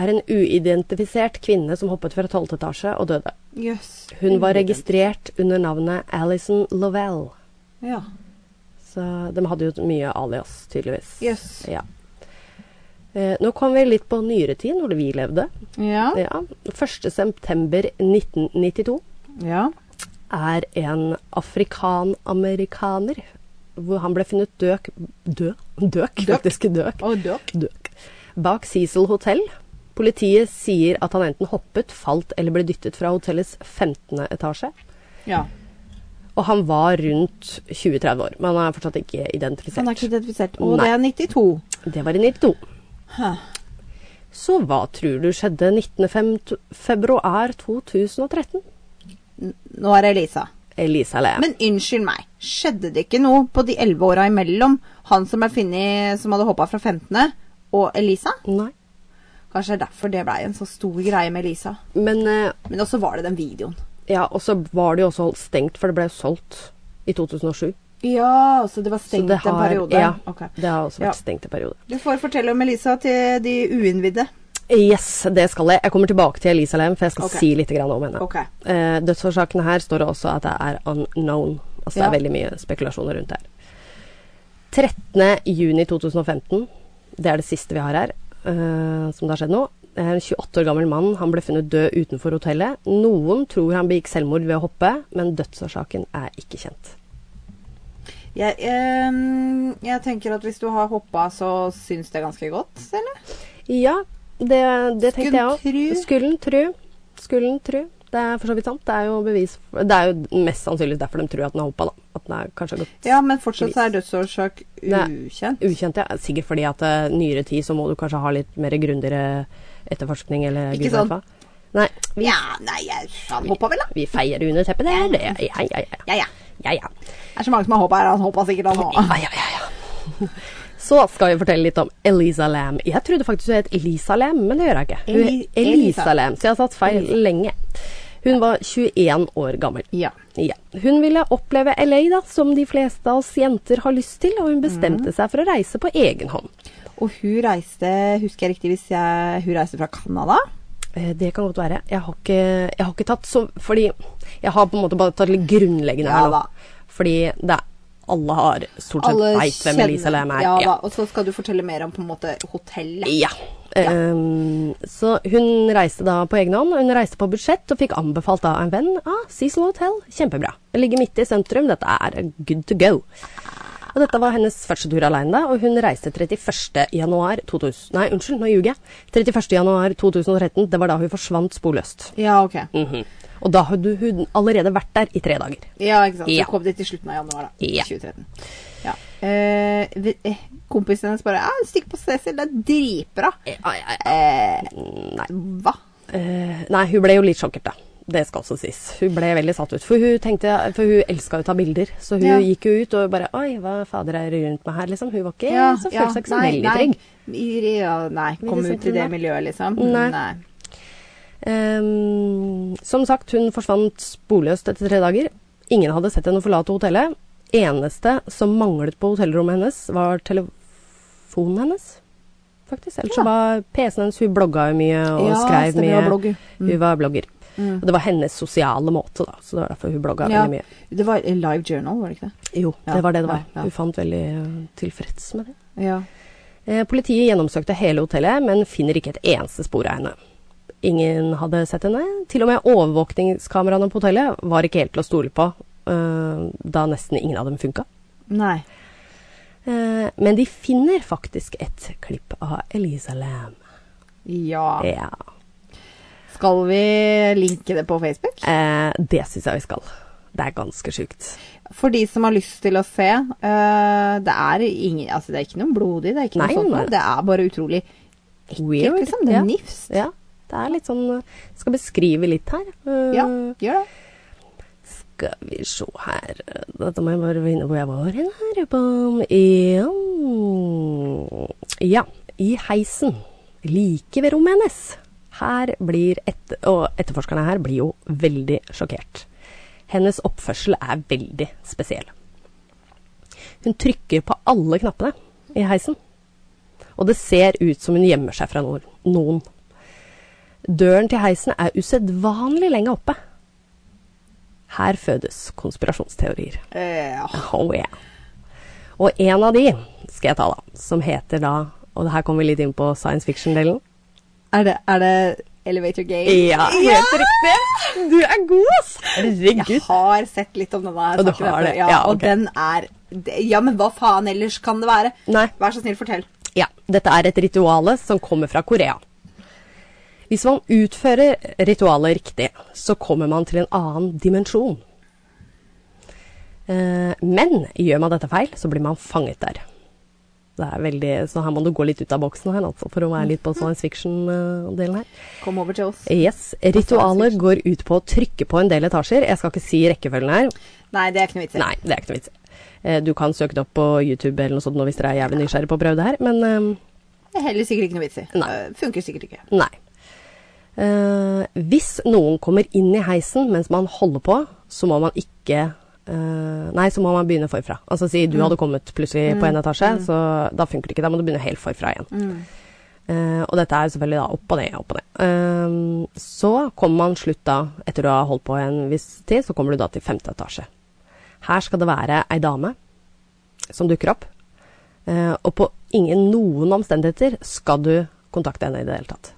Speaker 1: er en uidentifisert kvinne som hoppet fra 12. etasje og døde.
Speaker 2: Jøss.
Speaker 1: Hun var registrert under navnet Alison Lovell.
Speaker 2: Ja.
Speaker 1: Så de hadde jo mye alias, tydeligvis.
Speaker 2: Jøss.
Speaker 1: Ja. Eh, nå kom vi litt på nyere tid, når vi levde.
Speaker 2: Ja.
Speaker 1: Ja. 1. september 1992
Speaker 2: ja.
Speaker 1: er en afrikan-amerikaner. Hvor han ble funnet døk Død? Døk, faktisk. Døk.
Speaker 2: Og døk.
Speaker 1: Døk. Bak Cecil hotell. Politiet sier at han enten hoppet, falt eller ble dyttet fra hotellets 15. etasje.
Speaker 2: Ja.
Speaker 1: Og han var rundt 20-30 år, men han er fortsatt ikke
Speaker 2: Han er
Speaker 1: identifisert.
Speaker 2: ikke identifisert. Og
Speaker 1: Nei.
Speaker 2: det er 92.
Speaker 1: Det var i 92.
Speaker 2: Hæ.
Speaker 1: Så hva tror du skjedde 19. fem- februar 2013?
Speaker 2: Nå er det Elisa.
Speaker 1: Elisa Lea.
Speaker 2: Men unnskyld meg, skjedde det ikke noe på de 11 åra imellom han som er funnet som hadde hoppa fra 15., og Elisa?
Speaker 1: Nei.
Speaker 2: Kanskje det er derfor det blei en så stor greie med Lisa.
Speaker 1: Men eh,
Speaker 2: Men også var det den videoen.
Speaker 1: ja, og så var det jo også stengt, for det ble jo solgt i 2007.
Speaker 2: Ja, så det var
Speaker 1: Så
Speaker 2: stengt
Speaker 1: det
Speaker 2: en
Speaker 1: har-
Speaker 2: periode.
Speaker 1: Ja,
Speaker 2: Ok.
Speaker 1: Det har også
Speaker 2: Ja.
Speaker 1: vært stengt en periode.
Speaker 2: Du får fortelle om Elisa til de uinnvidde.
Speaker 1: Yes, det skal jeg. Jeg kommer tilbake til Elisalem, for jeg skal
Speaker 2: Ok.
Speaker 1: si litt grann om henne.
Speaker 2: Ok.
Speaker 1: Eh, dødsårsaken her står det også at det er unknown. Altså det
Speaker 2: Ja.
Speaker 1: er veldig mye spekulasjoner rundt det her. 13. juni 2015, det er det siste vi har her, eh, som det har skjedd nå. Det er En 28 år gammel mann han ble funnet død utenfor hotellet. Noen tror han begikk selvmord ved å hoppe, men dødsårsaken er ikke kjent.
Speaker 2: Jeg, ehm, jeg tenker at hvis du har hoppa, så syns det ganske godt, eller?
Speaker 1: Ja, det, det tenkte jeg òg.
Speaker 2: Skulle tru.
Speaker 1: Skullen tru. Skullen tru. Det er for så vidt sant. Det er jo bevis Det er jo mest sannsynlig derfor de tror at den har hoppa, da. At den er kanskje har gått
Speaker 2: Ja, men fortsatt så er dødsårsak
Speaker 1: Nei.
Speaker 2: ukjent.
Speaker 1: Ukjent, ja. Sikkert fordi at eh, nyere tid så må du kanskje ha litt mer grundigere etterforskning eller
Speaker 2: Ikke
Speaker 1: gud vet
Speaker 2: sånn.
Speaker 1: hva. Nei, vi,
Speaker 2: Ja, nei, jeg han hoppa vel, da.
Speaker 1: vi feier det under teppet, det er det. Ja, ja, ja.
Speaker 2: Ja, ja.
Speaker 1: Ja, ja.
Speaker 2: Det er så mange som har hoppa her. Han hoppa sikkert, han òg.
Speaker 1: Ja, ja, ja, ja. Så skal vi fortelle litt om Elisa Lam. Jeg trodde faktisk hun het Elisa Lam, men det gjør hun ikke. Hun
Speaker 2: Eli-
Speaker 1: het Elisa
Speaker 2: Elisa.
Speaker 1: Lam, så jeg har tatt feil lenge. Hun var 21 år gammel.
Speaker 2: Ja.
Speaker 1: Ja. Hun ville oppleve LA, da, som de fleste av oss jenter har lyst til, og hun bestemte seg for å reise på egen hånd.
Speaker 2: Og hun reiste, husker jeg riktig, hvis jeg, hun reiste fra Canada?
Speaker 1: Eh, Det kan godt være. Jeg har ikke, jeg har ikke tatt så Fordi jeg har på en måte bare tatt litt grunnleggende her nå.
Speaker 2: Ja da.
Speaker 1: Fordi det er alle har stort sett veit hvem Elisa Lam er.
Speaker 2: Ja, da. Og så skal du fortelle mer om på en måte hotellet.
Speaker 1: Ja. Ehm, så hun reiste da på egen hånd. Hun reiste på budsjett og fikk anbefalt da av en venn ah, Cecil Hotel. Kjempebra. Det ligger midt i sentrum. Dette er good to go. Og dette var hennes første tur alene, da, og hun reiste 31. januar 2000, Nei, unnskyld, nå ljuger jeg. 31. januar 2013, det var da hun forsvant sporløst.
Speaker 2: Ja, ok.
Speaker 1: Mhm. Og da hadde hun allerede vært der i tre dager.
Speaker 2: Ja, ikke sant.
Speaker 1: Ja.
Speaker 2: Så kom det til slutten av januar, da.
Speaker 1: Ja.
Speaker 2: 2013. Ja. Eh, vi- eh, kompisen hennes bare «Ja, 'Stikk på Cecil, det er dritbra'. Eh,
Speaker 1: Nei.
Speaker 2: hva?
Speaker 1: Eh, nei, hun ble jo litt sjokkert, da. Det skal også sies. Hun ble veldig satt ut. For hun tenkte, for hun elska jo å ta bilder, så hun
Speaker 2: Ja.
Speaker 1: gikk jo ut og bare Oi, hva fader er det rundt meg her, liksom? Hun var ikke så følte seg ikke så
Speaker 2: nei,
Speaker 1: veldig
Speaker 2: nei.
Speaker 1: trygg.
Speaker 2: I- Ja, nei,
Speaker 1: Veldig
Speaker 2: kom ut i det
Speaker 1: sentrum, da.
Speaker 2: miljøet, liksom.
Speaker 1: Nei.
Speaker 2: nei.
Speaker 1: Ehm, som sagt, hun forsvant sporløst etter tre dager. Ingen hadde sett henne forlate hotellet. Eneste som manglet på hotellrommet hennes, var telefonen hennes. Faktisk. Ellers så
Speaker 2: Ja.
Speaker 1: var PC-en hennes Hun blogga jo mye og
Speaker 2: Ja,
Speaker 1: skrev
Speaker 2: stemmer,
Speaker 1: mye.
Speaker 2: hun var blogger. Mm.
Speaker 1: Hun var blogger.
Speaker 2: Mm.
Speaker 1: Og det var hennes sosiale måte, da. Så det var derfor hun blogga
Speaker 2: Ja.
Speaker 1: veldig mye.
Speaker 2: Det var eh, Live Journal, var det ikke det?
Speaker 1: Jo,
Speaker 2: Ja,
Speaker 1: det var det det
Speaker 2: ja,
Speaker 1: var.
Speaker 2: ja.
Speaker 1: Hun fant veldig eh, tilfreds med det.
Speaker 2: Ja.
Speaker 1: Eh, Politiet gjennomsøkte hele hotellet, men finner ikke et eneste spor av henne. Ingen hadde sett henne. Til og med overvåkningskameraene på hotellet var ikke helt til å stole på, eh, da nesten ingen av dem funka.
Speaker 2: Nei.
Speaker 1: Eh, Men de finner faktisk et klipp av Elisa Lam.
Speaker 2: Ja.
Speaker 1: Ja.
Speaker 2: Skal vi linke det på Facebook?
Speaker 1: Eh, Det syns jeg vi skal. Det er ganske sjukt.
Speaker 2: For de som har lyst til å se, eh, det, er ingen, altså det er ikke noe blodig, det er ikke noe
Speaker 1: Nei,
Speaker 2: sånt.
Speaker 1: nei.
Speaker 2: noe. Det er bare utrolig ekkelt, liksom. Det er
Speaker 1: Ja.
Speaker 2: nifst.
Speaker 1: Ja. Det er litt sånn eh, Skal beskrive litt her. Eh,
Speaker 2: Ja, gjør det.
Speaker 1: Skal vi se her Dette må jeg bare finne hvor jeg var hen her. Bam. Ja. ja. I heisen. Like ved rommet hennes. Her blir et, og etterforskerne her blir jo veldig sjokkert. Hennes oppførsel er veldig spesiell. Hun trykker på alle knappene i heisen. Og det ser ut som hun gjemmer seg fra noen. noen. Døren til heisen er usedvanlig lenge oppe. Her fødes konspirasjonsteorier.
Speaker 2: Eh, ja.
Speaker 1: Oh yeah. Og en av de skal jeg ta, da, som heter da Og her kommer vi litt inn på science fiction-delen.
Speaker 2: er, det, er det Elevator Game?
Speaker 1: Ja, helt riktig! Du er god, ass!
Speaker 2: Jeg
Speaker 1: Herregud.
Speaker 2: har sett litt om denne her
Speaker 1: Og du
Speaker 2: saken,
Speaker 1: har
Speaker 2: altså.
Speaker 1: det?
Speaker 2: Ja,
Speaker 1: Ja,
Speaker 2: og
Speaker 1: ok.
Speaker 2: den er det- Ja, men hva faen ellers kan det være?
Speaker 1: Nei.
Speaker 2: Vær så snill, fortell.
Speaker 1: Ja, dette er et rituale som kommer fra Korea. Hvis man utfører ritualet riktig, så kommer man til en annen dimensjon. Eh, men gjør man dette feil, så blir man fanget der. Det er veldig, så her må du gå litt ut av boksen her, altså, for å være litt på science fiction-delen her.
Speaker 2: Kom over til oss.
Speaker 1: Yes, Ritualet går ut på å trykke på en del etasjer. Jeg skal ikke si rekkefølgen her.
Speaker 2: Nei, det er ikke noe vits i.
Speaker 1: Nei, det er ikke noe vits. Eh, Du kan søke det opp på YouTube eller noe sånt nå hvis dere er jævlig nysgjerrig på å prøve det her. Men eh,
Speaker 2: Det er heller sikkert ikke noe vits i.
Speaker 1: Nei.
Speaker 2: Eh, Funker sikkert ikke.
Speaker 1: Nei. Eh, hvis noen kommer inn i heisen mens man holder på, så må man ikke eh, Nei, så må man begynne forfra. Altså si du hadde kommet plutselig på en etasje, så da funker det ikke. Da må du begynne helt forfra igjen.
Speaker 2: Mm.
Speaker 1: Eh, og dette er selvfølgelig da opp og ned, opp og ned. Eh, så kommer man slutt da, etter du har holdt på en viss tid, så kommer du da til femte etasje. Her skal det være ei dame som dukker opp. Eh, og på ingen noen omstendigheter skal du kontakte henne i det hele tatt.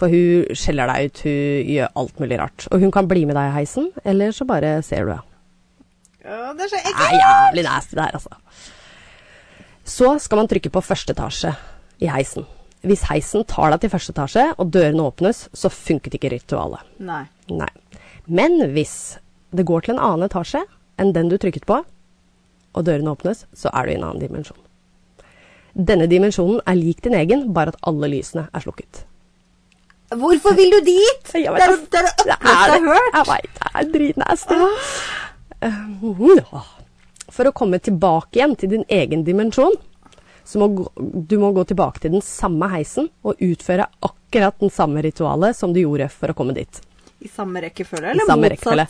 Speaker 1: For hun skjeller deg ut, hun gjør alt mulig rart. Og hun kan bli med deg i heisen, eller så bare ser du henne.
Speaker 2: Å, det er
Speaker 1: Det
Speaker 2: så
Speaker 1: er
Speaker 2: ekkelt!
Speaker 1: jævlig nasty det her, altså. Så skal man trykke på første etasje i heisen. Hvis heisen tar deg til første etasje, og dørene åpnes, så funket ikke ritualet.
Speaker 2: Nei.
Speaker 1: Nei. Men hvis det går til en annen etasje enn den du trykket på, og dørene åpnes, så er du i en annen dimensjon. Denne dimensjonen er lik din egen, bare at alle lysene er slukket.
Speaker 2: Hvorfor vil du dit? Det
Speaker 1: Jeg
Speaker 2: er
Speaker 1: vet
Speaker 2: jo- det er altså, det
Speaker 1: Det
Speaker 2: økleste
Speaker 1: er
Speaker 2: jeg
Speaker 1: det.
Speaker 2: har hørt. Ah.
Speaker 1: Jeg veit det er dritnasty. Eh, ja. For å komme tilbake igjen til din egen dimensjon, så må gå- du må gå tilbake til den samme heisen og utføre akkurat den samme ritualet som du gjorde for å komme dit.
Speaker 2: I samme rekkefølge,
Speaker 1: I
Speaker 2: eller
Speaker 1: samme
Speaker 2: motsatt?
Speaker 1: rekkefølge.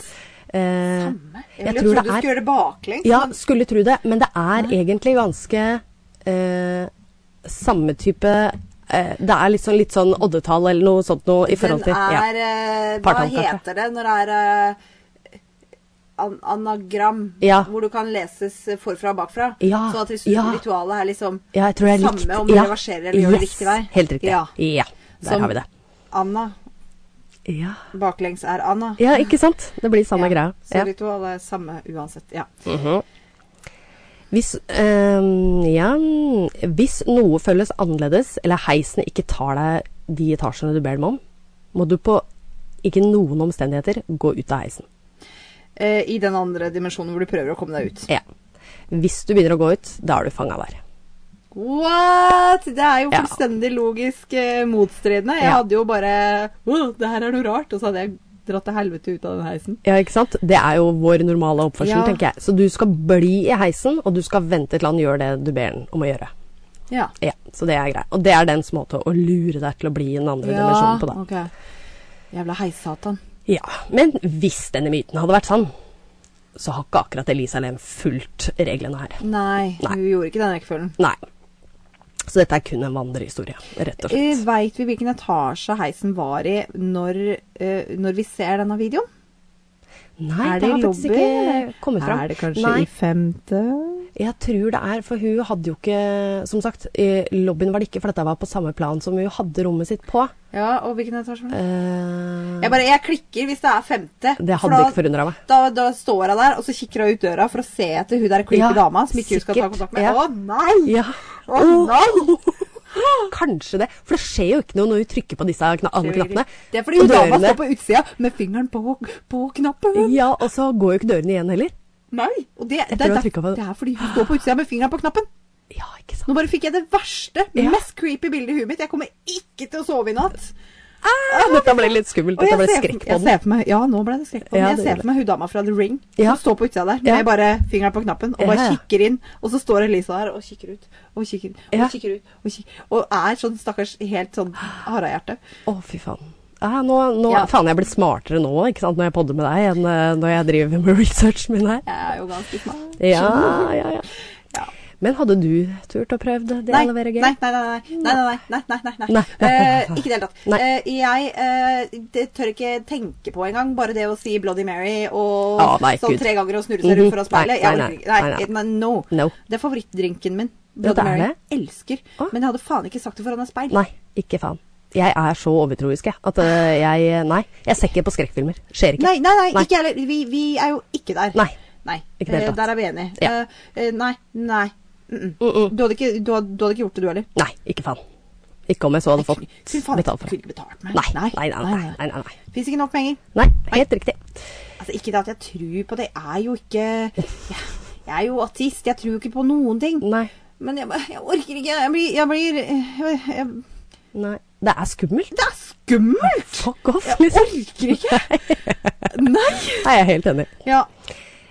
Speaker 1: Eh,
Speaker 2: Samme? Jeg,
Speaker 1: jeg
Speaker 2: ville
Speaker 1: tror
Speaker 2: trodd
Speaker 1: det
Speaker 2: du skulle
Speaker 1: er
Speaker 2: gjøre det baklengs.
Speaker 1: Ja, skulle tro det, men det er egentlig ganske eh, samme type eh, Det er litt sånn, litt sånn oddetall eller noe sånt noe i forhold til
Speaker 2: Den
Speaker 1: ja.
Speaker 2: er eh, Hva
Speaker 1: Partall, kanskje.
Speaker 2: heter det når det er eh, an anagram?
Speaker 1: Ja.
Speaker 2: Hvor du kan leses forfra og bakfra?
Speaker 1: Ja,
Speaker 2: Så at hvis
Speaker 1: ja.
Speaker 2: ritualet er liksom
Speaker 1: Ja, jeg tror det er
Speaker 2: samme
Speaker 1: likt.
Speaker 2: om du
Speaker 1: ja.
Speaker 2: reverserer eller gjør det
Speaker 1: Yes,
Speaker 2: riktig vei?
Speaker 1: Helt riktig.
Speaker 2: Ja.
Speaker 1: Ja, der
Speaker 2: Som-
Speaker 1: har vi det.
Speaker 2: Anna.
Speaker 1: Ja.
Speaker 2: Baklengs er Anna.
Speaker 1: ikke sant? Det blir samme
Speaker 2: Ja,
Speaker 1: greia.
Speaker 2: Så
Speaker 1: Ja. Mhm.
Speaker 2: ritualet er samme uansett. Ja.
Speaker 1: Hvis, øhm, ja, hvis noe føles annerledes, eller heisene ikke tar deg de etasjene du ber dem om, må du på ikke noen omstendigheter gå ut av heisen.
Speaker 2: Eh, I den andre dimensjonen hvor du prøver å komme deg ut.
Speaker 1: Ja. Hvis du begynner å gå ut, da er du fanga der.
Speaker 2: What?! Det er jo
Speaker 1: Ja.
Speaker 2: fullstendig logisk eh, motstridende. Jeg
Speaker 1: Ja.
Speaker 2: hadde jo bare Åh, det her er noe rart. Og så hadde jeg dratt til helvete ut av den heisen.
Speaker 1: Ja, ikke sant? Det er jo vår normale oppførsel,
Speaker 2: Ja.
Speaker 1: tenker jeg. Så du skal bli i heisen, og du skal vente til han gjør det du ber den om å gjøre.
Speaker 2: Ja.
Speaker 1: Ja, så det er greit. Og det er dens måte å lure deg til å bli i den andre dimensjonen på, da.
Speaker 2: ok. Jævla heissatan.
Speaker 1: Ja, men hvis denne myten hadde vært sann, så har ikke akkurat Elisa Lem fulgt reglene her.
Speaker 2: Nei,
Speaker 1: Nei.
Speaker 2: hun gjorde ikke den rekkefølgen.
Speaker 1: Nei. Så dette er kun en vandrehistorie, rett og slett.
Speaker 2: Veit Eh, vi hvilken etasje heisen var i når, eh, når vi ser denne videoen?
Speaker 1: Nei,
Speaker 2: er det i
Speaker 1: har faktisk
Speaker 2: lobby?
Speaker 1: ikke eh, kommet fram.
Speaker 2: Er det kanskje
Speaker 1: Nei,
Speaker 2: i femte?
Speaker 1: jeg tror det er, for hun hadde jo ikke Som sagt, i lobbyen var det ikke, for dette var på samme plan som hun hadde rommet sitt på.
Speaker 2: Ja, og hvilken etasje var det?
Speaker 1: Eh,
Speaker 2: Jeg bare, jeg klikker hvis det er femte.
Speaker 1: det
Speaker 2: for
Speaker 1: hadde
Speaker 2: da-
Speaker 1: ikke forundra meg.
Speaker 2: Da, da står hun der, og så kikker hun ut døra for å se etter hun der creepy
Speaker 1: Ja,
Speaker 2: dama som ikke hun skal ta
Speaker 1: sikkert.
Speaker 2: kontakt med.
Speaker 1: Ja. Oh,
Speaker 2: Å nei!
Speaker 1: Ja.
Speaker 2: Å nei!
Speaker 1: Kanskje det. For det skjer jo ikke noe når hun trykker på disse kna alle knappene.
Speaker 2: Det er fordi
Speaker 1: Og
Speaker 2: hun dama
Speaker 1: dørene-
Speaker 2: står på utsida med fingeren på, på knappen.
Speaker 1: Ja, og så går jo ikke dørene igjen heller.
Speaker 2: Nei! Og det, det,
Speaker 1: tror jeg
Speaker 2: er
Speaker 1: trykket på-
Speaker 2: derfor- det er fordi hun står på utsida med fingeren på knappen.
Speaker 1: Ja, ikke sant.
Speaker 2: Nå bare fikk jeg det verste,
Speaker 1: Ja.
Speaker 2: mest creepy bildet i huet mitt. Jeg kommer ikke til å sove i natt.
Speaker 1: Ah, dette ble litt skummelt.
Speaker 2: Og
Speaker 1: Dette ble
Speaker 2: jeg, ser,
Speaker 1: skrekk på
Speaker 2: jeg
Speaker 1: den.
Speaker 2: ser for meg Ja, nå ble det skrekk på den.
Speaker 1: Ja,
Speaker 2: jeg
Speaker 1: det
Speaker 2: ser
Speaker 1: gjorde
Speaker 2: for meg hun dama fra The Ring
Speaker 1: Ja.
Speaker 2: som står på utsida der
Speaker 1: Ja.
Speaker 2: med bare fingeren på knappen og bare
Speaker 1: Ja, ja.
Speaker 2: kikker inn. Og så står Elisa der og kikker ut og kikker og
Speaker 1: Ja.
Speaker 2: kikker ut og, kikker, og er sånn stakkars helt sånn harehjerte.
Speaker 1: Å, fy faen. Ah, nå, nå,
Speaker 2: Ja.
Speaker 1: Faen, jeg er blitt smartere nå ikke sant, når jeg podder med deg, enn eh, når jeg driver med researchen min her.
Speaker 2: Jeg er jo ganske smart.
Speaker 1: Ja, ja, ja.
Speaker 2: Ja.
Speaker 1: Men hadde du turt å prøve det?
Speaker 2: Nei,
Speaker 1: å
Speaker 2: nei,
Speaker 1: levere
Speaker 2: nei,
Speaker 1: game?
Speaker 2: nei, nei, nei, nei, nei, nei, nei, nei.
Speaker 1: Nei.
Speaker 2: Eh, ikke i det hele tatt.
Speaker 1: Nei.
Speaker 2: Eh, jeg eh, det tør ikke tenke på engang, bare det å si Bloody Mary og
Speaker 1: Å, nei,
Speaker 2: sånn
Speaker 1: Gud.
Speaker 2: tre ganger og snurre seg rundt foran
Speaker 1: Mhm. Nei,
Speaker 2: speilet.
Speaker 1: nei,
Speaker 2: Jeg
Speaker 1: nei,
Speaker 2: orker ikke. Nei,
Speaker 1: nei,
Speaker 2: nei, no.
Speaker 1: No.
Speaker 2: Det er favorittdrinken min.
Speaker 1: Ja, det
Speaker 2: Bloody
Speaker 1: er
Speaker 2: Mary.
Speaker 1: det.
Speaker 2: Elsker.
Speaker 1: Å.
Speaker 2: Men jeg hadde faen ikke sagt det foran et speil.
Speaker 1: Nei, ikke faen. Jeg er så overtroisk, jeg. At eh, jeg Nei, jeg ser ikke på skrekkfilmer. Skjer ikke.
Speaker 2: Nei, nei, nei,
Speaker 1: Nei.
Speaker 2: ikke heller. Vi, vi er jo ikke der.
Speaker 1: Nei.
Speaker 2: Nei.
Speaker 1: Ikke i det hele
Speaker 2: Eh,
Speaker 1: tatt.
Speaker 2: Der er vi enige.
Speaker 1: Ja.
Speaker 2: Eh, eh, nei, nei. Mm -mm.
Speaker 1: Mm-mm.
Speaker 2: Du, hadde ikke, du, hadde, du hadde ikke gjort det, du heller?
Speaker 1: Nei, ikke faen. Ikke om jeg så hadde fått
Speaker 2: Fy faen,
Speaker 1: betalt for
Speaker 2: kunne
Speaker 1: det.
Speaker 2: ikke betalt meg.
Speaker 1: Nei, nei, nei. nei, nei, nei, nei.
Speaker 2: Fins ikke nok penger.
Speaker 1: nei helt riktig.
Speaker 2: Altså, ikke det at jeg tror på det. Jeg er jo ikke Jeg, jeg er jo ateist. Jeg tror jo ikke på noen ting.
Speaker 1: Nei.
Speaker 2: Men jeg, bare- jeg orker ikke. Jeg blir, jeg blir jeg, jeg,
Speaker 1: nei. Det er skummelt.
Speaker 2: Det er skummelt!
Speaker 1: Fuck off,
Speaker 2: Jeg
Speaker 1: liksom.
Speaker 2: orker ikke. Nei.
Speaker 1: Nei, jeg er helt enig.
Speaker 2: Ja.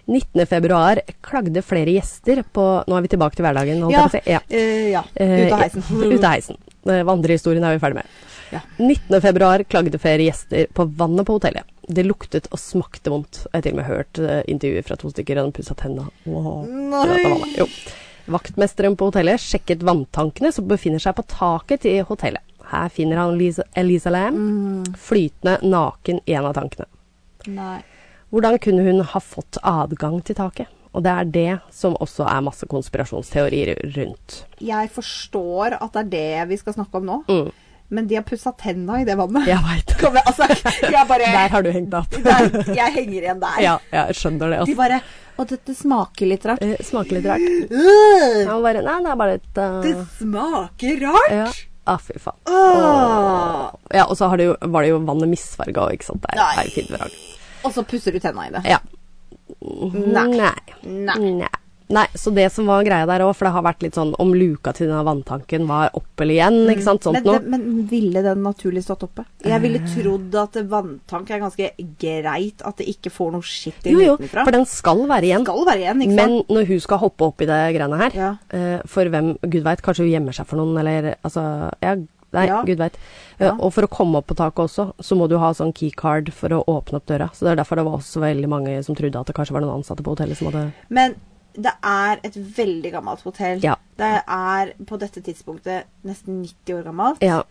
Speaker 1: 19. februar klagde flere gjester på Nå er vi tilbake til hverdagen. holdt
Speaker 2: Ja.
Speaker 1: jeg på å si. ja.
Speaker 2: eh, ja.
Speaker 1: Eh,
Speaker 2: Ut av heisen.
Speaker 1: ja, Ut av heisen. Eh, Vandrehistorien er vi ferdig med.
Speaker 2: Ja.
Speaker 1: 19. februar klagde flere gjester på vannet på hotellet. Det luktet og smakte vondt. Jeg har til og med hørt eh, intervjuer fra to stykker og de pussa tenna. Wow.
Speaker 2: Nei.
Speaker 1: for at det var vannet. Jo. Vaktmesteren på hotellet sjekket vanntankene som befinner seg på taket til hotellet. Her finner han Lisa, Elisa Lam
Speaker 2: Mm.
Speaker 1: flytende naken i en av tankene.
Speaker 2: Nei.
Speaker 1: Hvordan kunne hun ha fått adgang til taket? Og det er det som også er masse konspirasjonsteorier rundt.
Speaker 2: Jeg forstår at det er det vi skal snakke om nå,
Speaker 1: Mm.
Speaker 2: men de har pussa tenna i det vannet.
Speaker 1: Jeg veit.
Speaker 2: Kan vi- altså, jeg bare
Speaker 1: Der har du hengt deg opp.
Speaker 2: der, Jeg henger igjen der.
Speaker 1: Ja, ja, jeg skjønner det.
Speaker 2: De
Speaker 1: Altså.
Speaker 2: bare Og dette smaker litt rart.
Speaker 1: Eh, Smaker litt rart.
Speaker 2: Øh,
Speaker 1: Han bare Nei, det er bare et
Speaker 2: det
Speaker 1: uh,
Speaker 2: smaker rart!
Speaker 1: Ja. Ah, fy faen.
Speaker 2: Åh.
Speaker 1: Ja, og så har det jo, var det jo vannet misfarga òg, ikke sant. Det er-
Speaker 2: Nei.
Speaker 1: er jo fint vrang.
Speaker 2: Og så pusser du tenna i det.
Speaker 1: Ja.
Speaker 2: Nei.
Speaker 1: Nei.
Speaker 2: Nei.
Speaker 1: Nei. Nei, så det som var greia der òg, for det har vært litt sånn om luka til denne vanntanken var opp eller igjen, ikke sant, sånt Eh.
Speaker 2: Men,
Speaker 1: noe.
Speaker 2: Mm. det- men ville den naturlig stått oppe? Jeg ville trodd at vanntank er ganske greit, at det ikke får noe skitt inn
Speaker 1: Jo, jo,
Speaker 2: utenfra.
Speaker 1: for den skal være igjen.
Speaker 2: skal være igjen, ikke
Speaker 1: Men
Speaker 2: sant?
Speaker 1: når hun skal hoppe opp i det greiene her,
Speaker 2: Ja.
Speaker 1: eh, for hvem Gud veit, kanskje hun gjemmer seg for noen, eller altså Ja, nei,
Speaker 2: Ja.
Speaker 1: gud veit. Eh,
Speaker 2: Ja.
Speaker 1: Og for å komme opp på taket også, så må du ha sånn keycard for å åpne opp døra. Så det er derfor det var også veldig mange som trodde at det kanskje var noen ansatte på hotellet som hadde
Speaker 2: Men det er et veldig gammelt hotell.
Speaker 1: Ja.
Speaker 2: Det er på dette tidspunktet nesten 90 år gammelt.
Speaker 1: Ja.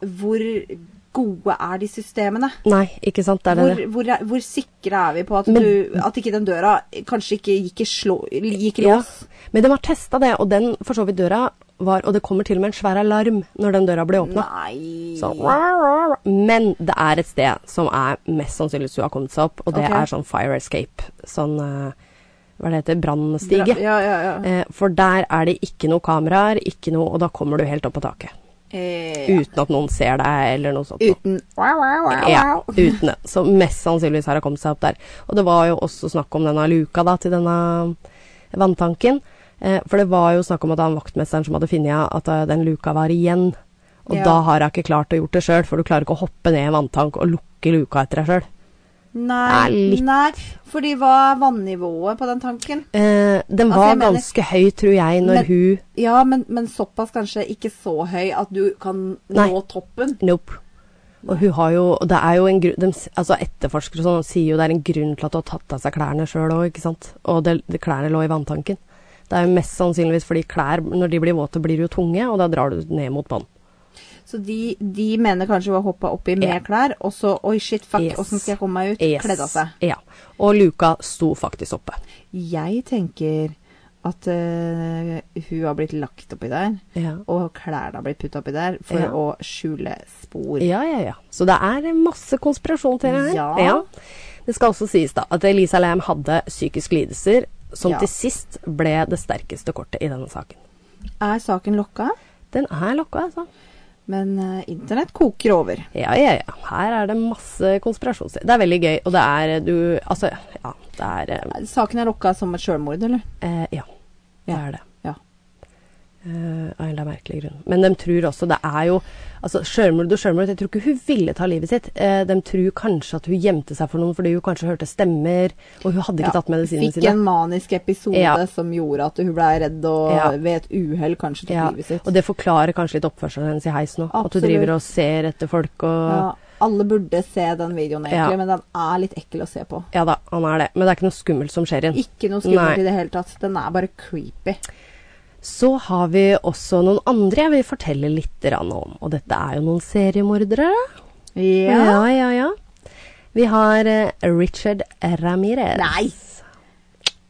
Speaker 2: Hvor gode er de systemene?
Speaker 1: Nei, ikke sant, det er det.
Speaker 2: Hvor, hvor, er- hvor sikre er vi på at,
Speaker 1: Men-
Speaker 2: du, at ikke den døra kanskje ikke gikk i, slå, gikk i lås?
Speaker 1: Ja. Men de har testa det, og den for så vidt døra var Og det kommer til og med en svær alarm når den døra ble åpna.
Speaker 2: Nei
Speaker 1: Sånn, rah, rah, rah. Men det er et sted som er mest sannsynlig hun har kommet seg opp, og det
Speaker 2: Ok.
Speaker 1: er sånn fire escape. Sånn eh, Hva er det heter? Brannstige.
Speaker 2: Ja, ja, ja.
Speaker 1: Eh, For der er det ikke noe kameraer, ikke noe, og da kommer du helt opp på taket.
Speaker 2: Eh,
Speaker 1: Uten at noen ser deg, eller noe sånt. noe.
Speaker 2: Uten wow, wow, wow,
Speaker 1: Ja,
Speaker 2: wow.
Speaker 1: uten det. Så mest sannsynligvis har det kommet seg opp der. Og det var jo også snakk om denne luka da, til denne vanntanken. Eh, for det var jo snakk om at han vaktmesteren som hadde funnet av at eh, den luka var igjen. Og
Speaker 2: Ja.
Speaker 1: da har hun ikke klart å gjort det sjøl, for du klarer ikke å hoppe ned i en vanntank og lukke luka etter deg sjøl.
Speaker 2: Nei,
Speaker 1: Det er litt-
Speaker 2: nei. Fordi hva er vannivået på den tanken?
Speaker 1: Eh, den
Speaker 2: Altså,
Speaker 1: var
Speaker 2: jeg mener-
Speaker 1: ganske høy, tror jeg, når
Speaker 2: Men-
Speaker 1: hun
Speaker 2: Ja, men, men såpass kanskje ikke så høy at du kan
Speaker 1: Nei.
Speaker 2: nå toppen.
Speaker 1: Nope. Og hun har jo og det er jo en grunn, de, s- altså Etterforskere og sånn sier jo det er en grunn til at hun har tatt av seg klærne sjøl òg, ikke sant. Og det, det klærne lå i vanntanken. Det er jo mest sannsynligvis fordi klær, når de blir våte, blir jo tunge, og da drar du ned mot bånn.
Speaker 2: Så de, de mener kanskje hun har hoppa oppi med
Speaker 1: Ja.
Speaker 2: klær, og så oi, shit, fuck,
Speaker 1: Yes.
Speaker 2: åssen skal jeg komme meg ut?
Speaker 1: Yes.
Speaker 2: Kledd av seg.
Speaker 1: Ja. Og luka sto faktisk oppe.
Speaker 2: Jeg tenker at eh, hun har blitt lagt oppi der,
Speaker 1: Ja.
Speaker 2: og klærne har blitt putta oppi der for
Speaker 1: Ja.
Speaker 2: å skjule spor.
Speaker 1: Ja, ja, ja. Så det er masse konspirasjon til det her.
Speaker 2: Ja.
Speaker 1: Det skal også sies da at Elisa Lam hadde psykiske lidelser, som
Speaker 2: Ja.
Speaker 1: til sist ble det sterkeste kortet i denne saken.
Speaker 2: Er saken lokka?
Speaker 1: Den er lokka, altså.
Speaker 2: Men eh, internett koker over.
Speaker 1: Ja, ja, ja. Her er det masse konspirasjonsteorier. Det er veldig gøy, og det er eh, du Altså, ja. Det er eh,
Speaker 2: Saken er lokka som et sjølmord, eller?
Speaker 1: eh, Ja. Det
Speaker 2: Ja.
Speaker 1: er det.
Speaker 2: Ja.
Speaker 1: Eh, av en eller annen merkelig grunn. Men de tror også det er jo Altså, sjølmord og sjølmord Jeg tror ikke hun ville ta livet sitt. Eh, de tror kanskje at hun gjemte seg for noen fordi hun kanskje hørte stemmer, og hun hadde ikke
Speaker 2: Ja,
Speaker 1: tatt medisinene
Speaker 2: Fikk
Speaker 1: sine.
Speaker 2: en manisk episode
Speaker 1: Ja.
Speaker 2: som gjorde at hun blei redd og
Speaker 1: Ja.
Speaker 2: ved et uhell kanskje tok
Speaker 1: Ja,
Speaker 2: livet sitt.
Speaker 1: og det forklarer kanskje litt oppførselen hennes i heisen òg. At hun
Speaker 2: Absolutt.
Speaker 1: driver og ser etter folk og
Speaker 2: ja, alle burde se den videoen egentlig,
Speaker 1: Ja.
Speaker 2: men den er litt ekkel å se på.
Speaker 1: Ja da, han er det. Men det er ikke noe skummelt som skjer i den.
Speaker 2: Ikke noe skummelt
Speaker 1: Nei.
Speaker 2: i det hele tatt. Den er bare creepy.
Speaker 1: Så har vi også noen andre jeg vil fortelle litt grann om. Og dette er jo noen seriemordere. ja,
Speaker 2: Ja.
Speaker 1: ja. ja. Vi har eh, Richard Ramirez.
Speaker 2: Nei.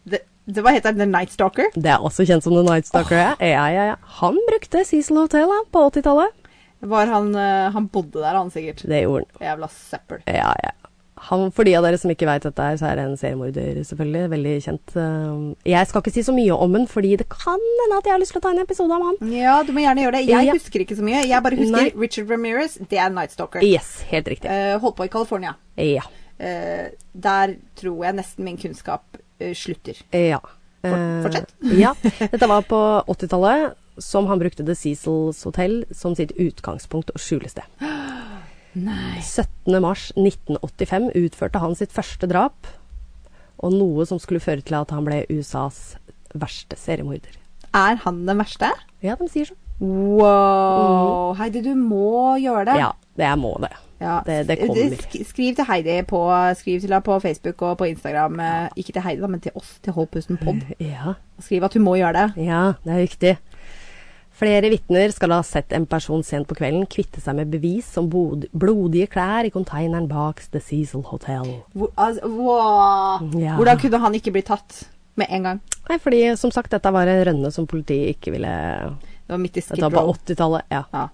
Speaker 2: Det, det var heter The Night Stalker.
Speaker 1: Det er også kjent som The Night Stalker. ja. Ja, ja, ja. Han brukte Cecil Hotel da, på 80-tallet.
Speaker 2: Var han, eh, han bodde der, han sikkert.
Speaker 1: Det gjorde han.
Speaker 2: Jævla søppel.
Speaker 1: Ja, ja. Han, for de av dere som ikke veit dette, her, så er det en seriemorder, selvfølgelig. Veldig kjent. eh, Jeg skal ikke si så mye om han, fordi det kan hende at jeg har lyst til å ta en episode om han.
Speaker 2: Ja, du må gjerne gjøre det. Jeg
Speaker 1: Ja.
Speaker 2: husker ikke så mye. Jeg bare husker
Speaker 1: Nei.
Speaker 2: Richard Ramirez, det er Night Stalker.
Speaker 1: Yes, helt riktig.
Speaker 2: Eh, holdt på i California.
Speaker 1: Ja.
Speaker 2: Eh, der tror jeg nesten min kunnskap eh, slutter.
Speaker 1: Ja.
Speaker 2: Fort- fortsett.
Speaker 1: Eh, ja. Dette var på 80-tallet, som han brukte The Cecils Hotel som sitt utgangspunkt og skjulested.
Speaker 2: Nei.
Speaker 1: 17. mars 1985 utførte han sitt første drap, Og noe som skulle føre til at han ble USAs verste seriemorder.
Speaker 2: Er han den verste?
Speaker 1: Ja, de sier sånn.
Speaker 2: Wow! Heidi, du må gjøre det.
Speaker 1: Mm. Ja, det jeg må det.
Speaker 2: Ja. Eh,
Speaker 1: Det, det kommer.
Speaker 2: Sk- Skriv til Heidi på, skriv til henne på Facebook og på Instagram. eh, Ikke til Heidi, da, men til oss, til Hold pusten pod.
Speaker 1: Ja,
Speaker 2: Skriv at hun må gjøre det.
Speaker 1: ja, det er viktig. Flere vitner skal ha sett en person sent på kvelden kvitte seg med bevis som bod blodige klær i konteineren bak The Cecil Hotel.
Speaker 2: Hvor, altså, wow.
Speaker 1: Ja.
Speaker 2: Hvordan kunne han ikke bli tatt med en gang?
Speaker 1: Nei, fordi som sagt, dette var en rønne som politiet ikke ville
Speaker 2: Det var midt i Skid
Speaker 1: Dette var på
Speaker 2: Row.
Speaker 1: 80-tallet, ja.
Speaker 2: Ja.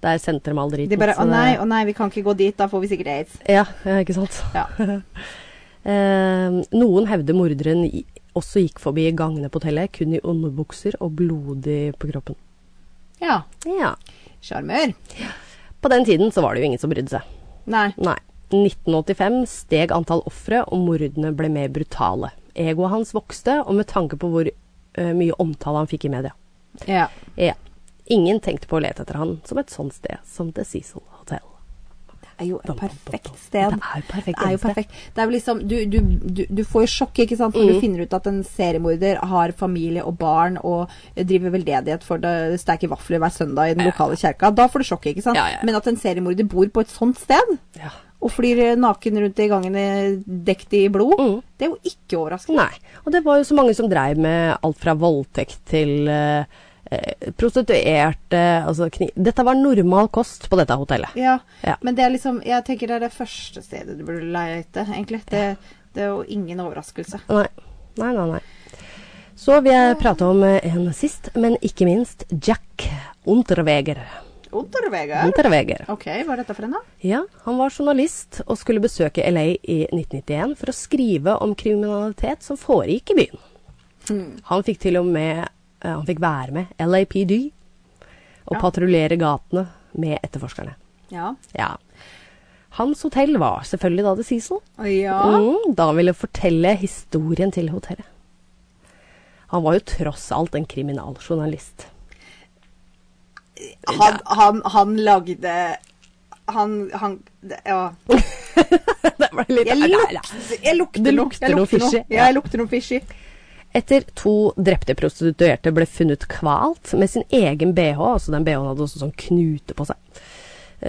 Speaker 1: Der sendte de all driten.
Speaker 2: De bare
Speaker 1: så
Speaker 2: Å
Speaker 1: det-
Speaker 2: nei, å nei, vi kan ikke gå dit, da får vi sikkert aids.
Speaker 1: Ja, ja, ikke sant.
Speaker 2: Ja.
Speaker 1: Eh, noen hevder morderen i- også gikk forbi gangene på hotellet, kun i underbukser og blodig på kroppen.
Speaker 2: Ja.
Speaker 1: Ja.
Speaker 2: Sjarmør.
Speaker 1: På den tiden så var det jo ingen som brydde seg.
Speaker 2: Nei.
Speaker 1: Nei. 1985 steg antall ofre, og mordene ble mer brutale. Egoet hans vokste, og med tanke på hvor eh, mye omtale han fikk i media.
Speaker 2: Ja.
Speaker 1: Ja. Ingen tenkte på å lete etter han som et sånt sted som The Cecil Hotel.
Speaker 2: Det er jo et perfekt sted.
Speaker 1: Det er jo perfekt
Speaker 2: Det er jo
Speaker 1: sted.
Speaker 2: perfekt. Det er jo liksom, du, du, du, du får jo sjokk ikke sant, når du finner ut at en seriemorder har familie og barn og driver veldedighet for det steke vafler hver søndag i den lokale kjerka. Da får du sjokk, ikke sant?
Speaker 1: Ja, ja, ja.
Speaker 2: Men at en seriemorder bor på et sånt sted
Speaker 1: Ja.
Speaker 2: og flyr eh, naken rundt i gangene dekt i blod,
Speaker 1: Mm.
Speaker 2: det er jo ikke overraskende.
Speaker 1: Nei. Og det var jo så mange som dreiv med alt fra voldtekt til eh, eh, prostituerte altså kni... Dette var normal kost på dette hotellet.
Speaker 2: Ja,
Speaker 1: Ja.
Speaker 2: Men det er liksom, jeg tenker det er det første stedet du burde leite, egentlig. Det, det er jo ingen overraskelse.
Speaker 1: Nei. Nei, nei, nei. Så vil jeg prate om eh, en sist, men ikke minst Jack Unterweger.
Speaker 2: Unterweger.
Speaker 1: Unterweger.
Speaker 2: Ok, hva er dette for en, da?
Speaker 1: Ja, han var journalist og skulle besøke LA i 1991 for å skrive om kriminalitet som foregikk i byen. Han fikk til og med eh, han fikk være med LAPD og
Speaker 2: Ja.
Speaker 1: patruljere gatene med etterforskerne.
Speaker 2: Ja.
Speaker 1: Ja. Hans hotell var selvfølgelig da The Cecil.
Speaker 2: ja.
Speaker 1: Mm, da han ville fortelle historien til hotellet. Han var jo tross alt en kriminaljournalist.
Speaker 2: Han, han, han lagde Han, han det- Ja.
Speaker 1: det ble litt
Speaker 2: Jeg, lukt, jeg lukter
Speaker 1: Det
Speaker 2: noe.
Speaker 1: lukter
Speaker 2: Jeg
Speaker 1: noe
Speaker 2: lukter
Speaker 1: fishy.
Speaker 2: Ja, jeg lukter noe fishy.
Speaker 1: Etter to drepte prostituerte ble funnet kvalt med sin egen bh, altså den bh-en hadde også sånn knute på seg,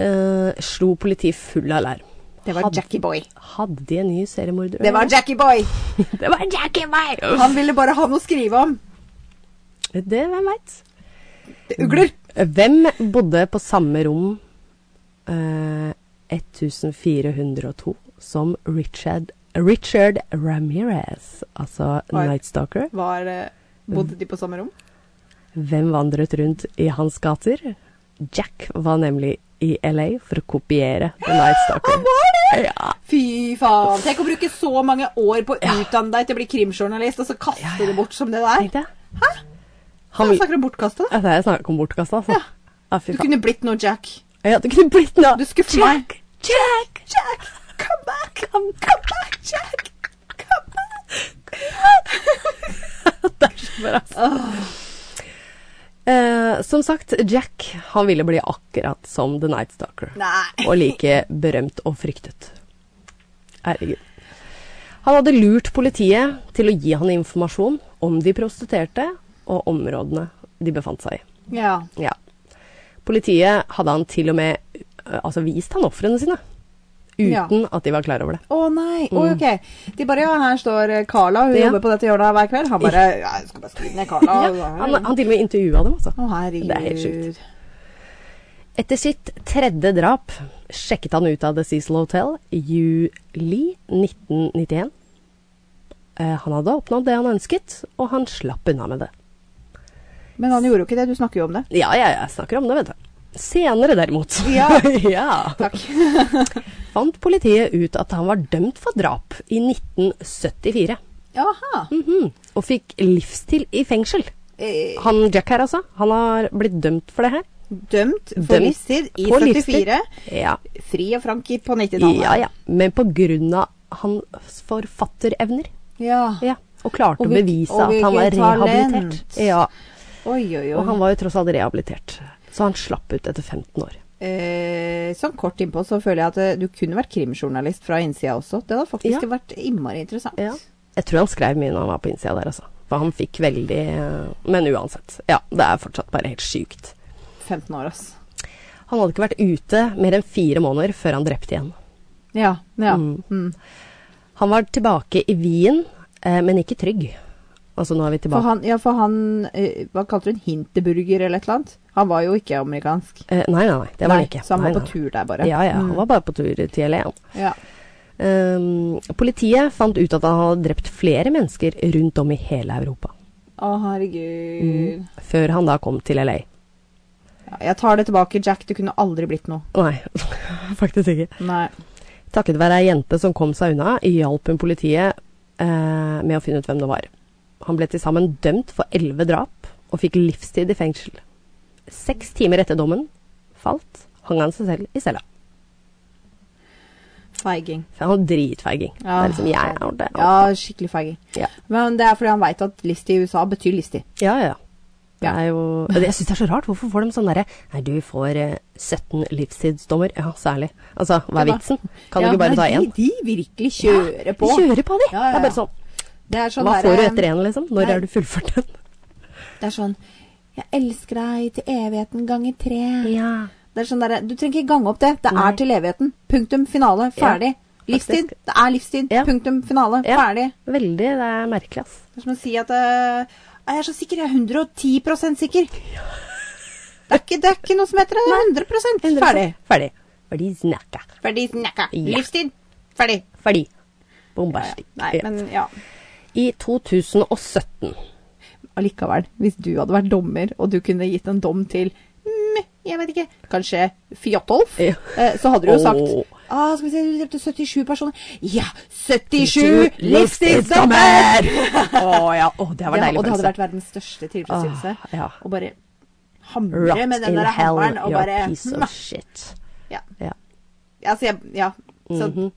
Speaker 1: eh, slo politiet full alarm.
Speaker 2: Det var
Speaker 1: Hadde-
Speaker 2: Jackie Boy.
Speaker 1: Hadde de en ny seriemorder?
Speaker 2: Det var Jackie Boy!
Speaker 1: det var Jackie Meyer!
Speaker 2: Han ville bare ha noe å skrive om.
Speaker 1: Det, hvem veit?
Speaker 2: Det er Ugler!
Speaker 1: Hvem bodde på samme rom eh, 1402 som Richard, Richard Ramirez, altså
Speaker 2: Oi.
Speaker 1: Night Stalker?
Speaker 2: Var, eh, bodde de på samme rom?
Speaker 1: Hvem vandret rundt i hans gater? Jack var nemlig i LA for å kopiere The Night Stalker. Ja.
Speaker 2: Fy faen! Tenk å bruke så mange år på å utdanne deg til å bli krimjournalist, og så kaste
Speaker 1: Ja, ja.
Speaker 2: det bort som det der.
Speaker 1: Tenkte jeg. Han
Speaker 2: Han
Speaker 1: vil-
Speaker 2: snakker om bortkastet.
Speaker 1: Ja, Det er snakk om bortkasta, altså.
Speaker 2: Ja.
Speaker 1: Ja. fy
Speaker 2: Du
Speaker 1: faen.
Speaker 2: kunne blitt noe Jack.
Speaker 1: Ja, det kunne blitt noe.
Speaker 2: Du skuffer
Speaker 1: Jack,
Speaker 2: meg.
Speaker 1: Jack,
Speaker 2: Jack, come back!
Speaker 1: come,
Speaker 2: Come back, Jack! Come back!
Speaker 1: Det er så bra. Eh, som sagt, Jack han ville bli akkurat som The Night Stalker.
Speaker 2: Nei.
Speaker 1: og like berømt og fryktet. Herregud. Han hadde lurt politiet til å gi han informasjon om de prostituerte og områdene de befant seg i.
Speaker 2: Ja.
Speaker 1: Ja. Politiet hadde han til og med eh, altså, vist han ofrene sine.
Speaker 2: Ja.
Speaker 1: Uten at de var klar over det.
Speaker 2: Å nei, Å, ok. De bare ja, her står eh, Carla, hun
Speaker 1: Mm. Ja.
Speaker 2: jobber på dette hjørnet hver kveld. Han bare ja, jeg skal bare skrive ned Carla.
Speaker 1: Ja,
Speaker 2: og-
Speaker 1: han, han til og med intervjua dem, altså.
Speaker 2: Å herregud.
Speaker 1: Det er helt sjukt. Etter sitt tredje drap sjekket han ut av The Cecil Hotel i juli 1991. Eh, han hadde oppnådd det han ønsket, og han slapp unna med det.
Speaker 2: Men han gjorde jo ikke det, du snakker jo om det.
Speaker 1: Ja, ja, jeg snakker om det, vet du. Senere, derimot,
Speaker 2: Ja.
Speaker 1: Ja.
Speaker 2: Takk.
Speaker 1: fant politiet ut at han var dømt for drap i 1974.
Speaker 2: Jaha.
Speaker 1: Mhm. Og fikk livstid i fengsel.
Speaker 2: Eh,
Speaker 1: Han Jack her, altså. Han har blitt dømt for det her.
Speaker 2: dømt for
Speaker 1: Dømt
Speaker 2: livstid i
Speaker 1: på
Speaker 2: 74.
Speaker 1: livstid. Ja.
Speaker 2: Fri og frank i- på 90-tallet.
Speaker 1: ja, ja. Men på grunn av hans forfatterevner.
Speaker 2: Ja.
Speaker 1: Ja, og klarte
Speaker 2: Og
Speaker 1: å
Speaker 2: hvil-
Speaker 1: bevise
Speaker 2: og
Speaker 1: at han var
Speaker 2: hvilket talent.
Speaker 1: rehabilitert. Ja,
Speaker 2: Oi, oi,
Speaker 1: og
Speaker 2: oi.
Speaker 1: han var jo tross alt rehabilitert. Så han slapp ut etter 15 år.
Speaker 2: Eh, sånn kort innpå så føler jeg at eh, du kunne vært krimjournalist fra innsida også. Det hadde faktisk
Speaker 1: Ja.
Speaker 2: vært innmari interessant.
Speaker 1: Ja. Jeg tror han skrev mye når han var på innsida der, altså. For han fikk veldig Men uansett. Ja, det er fortsatt bare helt sjukt.
Speaker 2: 15 år, ass.
Speaker 1: Han hadde ikke vært ute mer enn fire måneder før han drepte igjen.
Speaker 2: Ja. ja.
Speaker 1: Mm.
Speaker 2: Mm.
Speaker 1: Han var tilbake i Wien, eh, men ikke trygg. Altså, nå er vi
Speaker 2: For
Speaker 1: tilbake
Speaker 2: han, ja, for han eh, Hva kalte du en hinterburger eller et eller annet? Han var jo ikke amerikansk.
Speaker 1: eh, Nei, nei, nei. Det var
Speaker 2: Nei,
Speaker 1: han ikke.
Speaker 2: Så han
Speaker 1: nei,
Speaker 2: var
Speaker 1: nei.
Speaker 2: på tur der, bare. Mm.
Speaker 1: Ja, ja. Han var bare på tur til LA. han.
Speaker 2: Ja.
Speaker 1: Ehm, politiet fant ut at han hadde drept flere mennesker rundt om i hele Europa.
Speaker 2: Å, herregud.
Speaker 1: Mm. Før han da kom til LA.
Speaker 2: Ja, jeg tar det tilbake, Jack. Du kunne aldri blitt noe.
Speaker 1: Nei, faktisk ikke.
Speaker 2: Nei.
Speaker 1: Takket være ei jente som kom seg unna, hjalp hun politiet eh, med å finne ut hvem det var. Han ble til sammen dømt for elleve drap og fikk livstid i fengsel. Seks timer etter dommen falt, hang han seg selv i cella.
Speaker 2: Feiging.
Speaker 1: For han var dritfeiging. Det
Speaker 2: Ja.
Speaker 1: er liksom jeg har det.
Speaker 2: Ja, skikkelig feiging.
Speaker 1: Ja.
Speaker 2: Men det er fordi han veit at list i USA betyr listig.
Speaker 1: Ja, ja. Det
Speaker 2: Ja.
Speaker 1: er jo Jeg syns det er så rart. Hvorfor får de sånn derre Nei, du får eh, 17 livstidsdommer. Ja, særlig. Altså, hva er
Speaker 2: Ja.
Speaker 1: vitsen? Kan
Speaker 2: Ja,
Speaker 1: du ikke bare
Speaker 2: nei,
Speaker 1: ta én?
Speaker 2: De, de virkelig kjører på.
Speaker 1: De kjører på, de.
Speaker 2: Ja, ja,
Speaker 1: Det er bare
Speaker 2: ja.
Speaker 1: sånn.
Speaker 2: Det er sånn
Speaker 1: Hva får du
Speaker 2: derre-
Speaker 1: etter én, liksom? Når
Speaker 2: nei.
Speaker 1: er du fullført den?
Speaker 2: Det er sånn Jeg elsker deg til evigheten ganger tre.
Speaker 1: Ja.
Speaker 2: Det er sånn derre Du trenger ikke gange opp det. Det
Speaker 1: Nei.
Speaker 2: er til evigheten. Punktum. Finale. Ferdig. livstid. Det er livstid.
Speaker 1: Ja.
Speaker 2: Punktum. Finale.
Speaker 1: Ja.
Speaker 2: Ferdig.
Speaker 1: Veldig. Det er merkelig, ass.
Speaker 2: Det er som å si at eh, Jeg er så sikker. Jeg er 110 sikker. Det er, ikke, det er ikke noe som heter det. Det er 100 Ferdig.
Speaker 1: Ferdig. Ferdig snakka.
Speaker 2: Ferdig snakka.
Speaker 1: Ja.
Speaker 2: Livstid. Ferdig.
Speaker 1: Ferdig. Bombastisk.
Speaker 2: Nei, men ja.
Speaker 1: I 2017
Speaker 2: Allikevel, hvis du hadde vært dommer, og du kunne gitt en dom til mm, jeg vet ikke, kanskje Fjotolf,
Speaker 1: Ja.
Speaker 2: eh, så hadde du jo sagt
Speaker 1: Åh.
Speaker 2: ah, skal vi se, du drepte 77 personer. Ja, 77 livstidsdommer!
Speaker 1: livstidsdommer! Å ja. Å, det
Speaker 2: Ja,
Speaker 1: var deilig
Speaker 2: og det hadde
Speaker 1: følelse.
Speaker 2: vært verdens største tilfredsstillelse.
Speaker 1: Ah, ja.
Speaker 2: Å bare hamre
Speaker 1: Rot
Speaker 2: med den
Speaker 1: in
Speaker 2: der
Speaker 1: hell,
Speaker 2: hammeren og
Speaker 1: you're a
Speaker 2: bare
Speaker 1: piece
Speaker 2: mm,
Speaker 1: of shit.
Speaker 2: Ja.
Speaker 1: Ja.
Speaker 2: Altså, jeg, ja. Så,
Speaker 1: Og Mhm,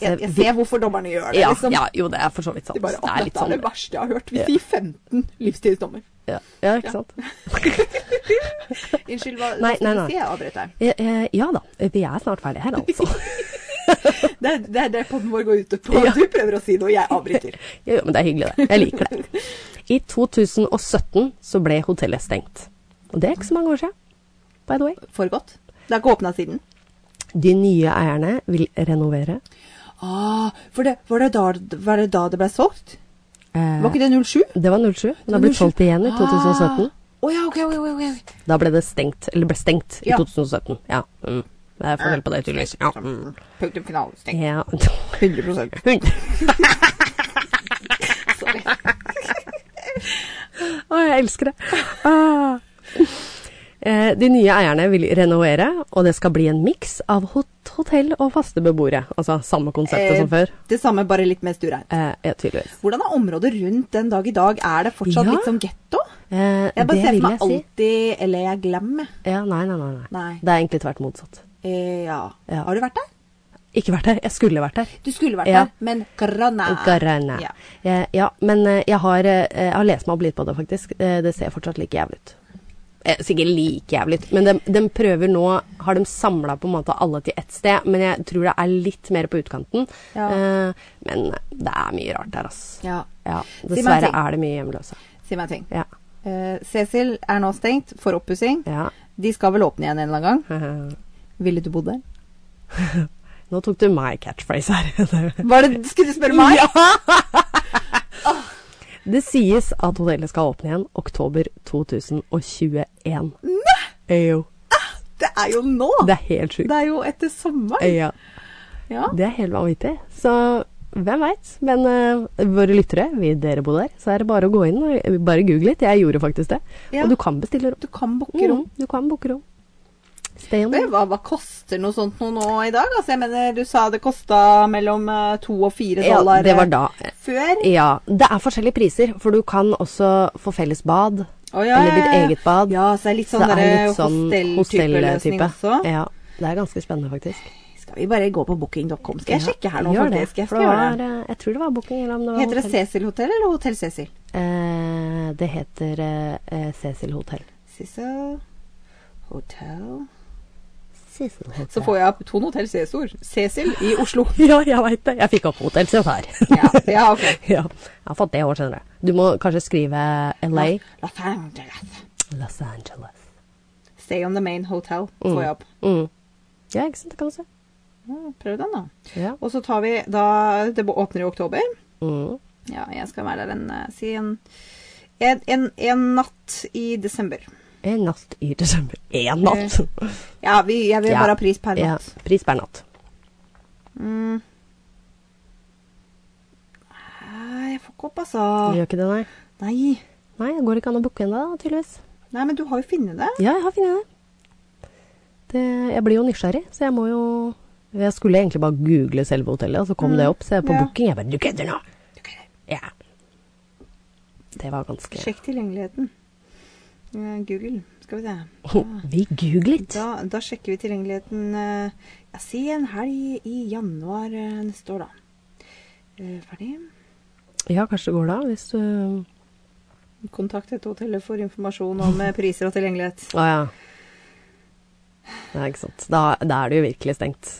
Speaker 1: så-
Speaker 2: jeg, jeg ser hvorfor dommerne gjør det,
Speaker 1: Ja,
Speaker 2: liksom.
Speaker 1: ja, jo, det er for så vidt sant.
Speaker 2: De bare,
Speaker 1: det
Speaker 2: «Å,
Speaker 1: er litt
Speaker 2: dette er
Speaker 1: sånn
Speaker 2: det verste jeg har hørt. Vi
Speaker 1: Ja.
Speaker 2: sier 15 livstidsdommer.
Speaker 1: ja. ja, ikke sant.
Speaker 2: Unnskyld, hva
Speaker 1: Nei,
Speaker 2: skulle
Speaker 1: nei,
Speaker 2: du
Speaker 1: nei.
Speaker 2: si? Jeg avbrøt deg.
Speaker 1: Eh, eh, Ja da, vi er snart ferdige her, altså.
Speaker 2: Det er det, er det podden vår går ut på.
Speaker 1: Ja.
Speaker 2: Du prøver å si noe, jeg avbryter.
Speaker 1: Jo, jo, men det er hyggelig, det. Jeg liker det. I 2017 så ble hotellet stengt. Og det er ikke så mange år siden, by the way.
Speaker 2: For godt. Det er ikke åpna siden.
Speaker 1: De nye eierne vil renovere.
Speaker 2: Ah, for det, var, det da, var det da det ble solgt?
Speaker 1: Eh, Ah.
Speaker 2: Var ikke det 07?
Speaker 1: Det var 07. Den har blitt
Speaker 2: 07.
Speaker 1: solgt igjen i 2017.
Speaker 2: Ah. Å ja, ok, ok, ok, ok.
Speaker 1: Da ble det stengt, eller ble stengt i
Speaker 2: Ja.
Speaker 1: 2017. Ja. Mm. Det er forskjell på det, tydeligvis. Ja. Mm.
Speaker 2: Punktum final. Stengt.
Speaker 1: ja.
Speaker 2: 100
Speaker 1: Hund.
Speaker 2: Sorry.
Speaker 1: Å, jeg elsker det. Ah. Eh, De nye eierne vil renovere, og det skal bli en miks av hot hotell og faste beboere. Altså samme konseptet som før.
Speaker 2: Eh, Det samme, bare litt mer stureint.
Speaker 1: Eh, ja, tydeligvis.
Speaker 2: Hvordan er området rundt den dag i dag? Er det fortsatt
Speaker 1: Ja.
Speaker 2: litt som getto?
Speaker 1: Eh,
Speaker 2: Jeg
Speaker 1: det
Speaker 2: bare ser for
Speaker 1: vil jeg
Speaker 2: meg
Speaker 1: si.
Speaker 2: alltid Eller jeg glemmer.
Speaker 1: Ja, nei, nei, nei, nei.
Speaker 2: Nei.
Speaker 1: Det er egentlig tvert motsatt.
Speaker 2: Eh, ja.
Speaker 1: Ja.
Speaker 2: Har du vært der?
Speaker 1: Ikke vært der. Jeg skulle vært der.
Speaker 2: Du skulle vært
Speaker 1: Ja.
Speaker 2: der, men Grana.
Speaker 1: Garana.
Speaker 2: Ah, Ja.
Speaker 1: Eh, ja, men eh, jeg har, eh, jeg har lest meg opp litt på det, faktisk. Eh, det ser fortsatt like jævlig ut. Eh, sikkert like jævlig ut, men de, de prøver nå Har de samla på en måte alle til ett sted, men jeg tror det er litt mer på utkanten.
Speaker 2: Ja.
Speaker 1: Eh, men det er mye rart der, altså.
Speaker 2: Ja.
Speaker 1: Ja,
Speaker 2: Si meg en
Speaker 1: dessverre
Speaker 2: ting.
Speaker 1: er det mye hjemløse.
Speaker 2: Si meg en ting.
Speaker 1: Ja.
Speaker 2: Eh, Cecil er nå stengt for oppussing.
Speaker 1: ja.
Speaker 2: De skal vel åpne igjen en eller annen gang. Ville du bodd der?
Speaker 1: Nå tok du my catchphrase her.
Speaker 2: Var det, skulle du spørre meg?
Speaker 1: det sies at hotellet skal åpne igjen oktober 2021. Nei! Jo.
Speaker 2: Det er jo nå!
Speaker 1: Det er helt sjukt.
Speaker 2: Det er jo etter sommeren.
Speaker 1: Ja.
Speaker 2: Ja.
Speaker 1: Det er helt vanvittig. Så hvem veit? Men eh, våre lyttere, vi dere bor der, så er det bare å gå inn og eh, bare google litt. Jeg gjorde faktisk det.
Speaker 2: Ja.
Speaker 1: Og du kan bestille rom.
Speaker 2: Du kan booke rom.
Speaker 1: Mm, du kan booke rom. Stay on.
Speaker 2: Men Hva, hva koster noe sånt noe nå i dag? Altså, jeg mener, du sa det kosta mellom eh, to og fire
Speaker 1: Ja,
Speaker 2: dollar
Speaker 1: det var
Speaker 2: eh,
Speaker 1: da.
Speaker 2: før.
Speaker 1: Ja. Det er forskjellige priser, for du kan også få felles bad.
Speaker 2: Å, ja,
Speaker 1: Eller ditt
Speaker 2: ja, ja.
Speaker 1: eget bad.
Speaker 2: Ja, så det er litt sånn,
Speaker 1: så det er litt sånn
Speaker 2: hostell-type løsning
Speaker 1: hostell-type. Eh.
Speaker 2: også.
Speaker 1: Ja. Det er ganske spennende, faktisk.
Speaker 2: Skal vi bare gå på booking.com? Skal jeg
Speaker 1: Ja,
Speaker 2: sjekke her nå,
Speaker 1: gjør
Speaker 2: faktisk? Jeg
Speaker 1: for
Speaker 2: skal
Speaker 1: det
Speaker 2: gjøre
Speaker 1: var,
Speaker 2: det.
Speaker 1: eh, Jeg tror det var booking. Eller om det var
Speaker 2: Heter det
Speaker 1: hotell.
Speaker 2: Cecil hotell eller Hotell Cecil?
Speaker 1: Eh, det heter eh, eh, Cecil Hotel.
Speaker 2: Cecil Hotel
Speaker 1: Cecil Hotel.
Speaker 2: Så får jeg opp Ton Hotell Cæsar, Cecil, i Oslo.
Speaker 1: Ja, jeg veit det. Jeg fikk opp Hotell Cæsar.
Speaker 2: Ja, ja, ok.
Speaker 1: ja. Jeg har fått det i år, skjønner du. Du må kanskje skrive LA.
Speaker 2: Los Angeles.
Speaker 1: Los Angeles.
Speaker 2: Stay on the main hotel, får jeg opp.
Speaker 1: Mm. Ja, ikke sant. Det kan du se. Mm.
Speaker 2: Ja, Prøv den, da.
Speaker 1: Ja.
Speaker 2: Og så tar vi da Det åpner i oktober.
Speaker 1: Mm.
Speaker 2: Ja, jeg skal være der en eh, Si en en, en, en natt i desember.
Speaker 1: En natt i desember. Én natt!
Speaker 2: Ja, vi, jeg vil
Speaker 1: Ja.
Speaker 2: bare ha pris Eh, per
Speaker 1: Ja,
Speaker 2: natt.
Speaker 1: pris per natt.
Speaker 2: Nei, Jeg får ikke opp, altså.
Speaker 1: Du gjør ikke det, nei?
Speaker 2: Nei.
Speaker 1: Nei, det går ikke an å booke ennå, da, tydeligvis.
Speaker 2: Nei, men du har jo funnet det.
Speaker 1: Ja, jeg har funnet det. det. Jeg blir jo nysgjerrig, så jeg må jo Jeg skulle egentlig bare google selve hotellet, og så kom det opp. Så jeg på
Speaker 2: Mm. ja.
Speaker 1: booking jeg bare Du kødder nå! Ja. Det var ganske
Speaker 2: Sjekk tilgjengeligheten. Eh, Google, skal vi se.
Speaker 1: Vi googlet!
Speaker 2: Da, da sjekker vi tilgjengeligheten eh, ja, Si en helg i januar eh, neste år, da. Eh, Ferdig.
Speaker 1: Ja, kanskje det går da, hvis du
Speaker 2: Kontakt dette hotellet for informasjon om eh, priser og tilgjengelighet.
Speaker 1: Å ja. Nei, ikke sant. Da, da er det jo virkelig stengt.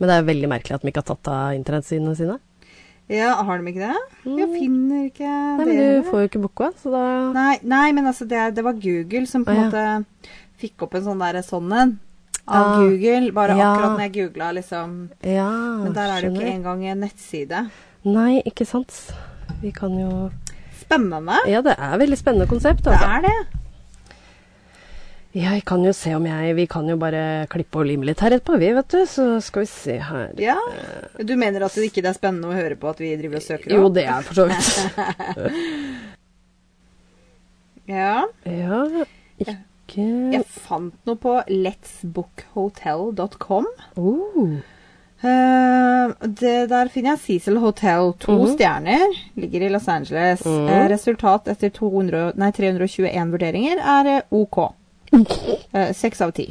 Speaker 1: Men det er veldig merkelig at de ikke har tatt av internettsidene sine.
Speaker 2: Ja, Har de ikke det? Jeg finner ikke
Speaker 1: Mm. Nei, men
Speaker 2: dere.
Speaker 1: du får jo ikke booka, så da
Speaker 2: Nei, nei, men altså det, det var Google som på
Speaker 1: Å,
Speaker 2: en
Speaker 1: ja.
Speaker 2: måte fikk opp en sånn der sånn en av
Speaker 1: Ah,
Speaker 2: Google. Bare
Speaker 1: ja.
Speaker 2: akkurat når jeg googla, liksom.
Speaker 1: Ja,
Speaker 2: Men der er det jo ikke
Speaker 1: skjønner.
Speaker 2: engang en nettside.
Speaker 1: Nei, ikke sant. Vi kan jo
Speaker 2: Spennende.
Speaker 1: Ja, det er veldig spennende konsept.
Speaker 2: Det
Speaker 1: Altså.
Speaker 2: er det.
Speaker 1: Jeg kan jo se om jeg Vi kan jo bare klippe og lime litt her etterpå, vi, vet du. Så skal vi se her.
Speaker 2: Ja. Du mener at det ikke er spennende å høre på at vi driver og søker
Speaker 1: Jo,
Speaker 2: opp?
Speaker 1: det er for så vidt.
Speaker 2: Ja.
Speaker 1: Ja, ikke
Speaker 2: Jeg fant noe på letsbookhotel.com.
Speaker 1: oh.
Speaker 2: Eh, det, der finner jeg Cecil Hotel. To stjerner. Ligger i Los Angeles. Eh, resultat etter 200, nei, 321 vurderinger er eh, OK. Eh, Seks av ti.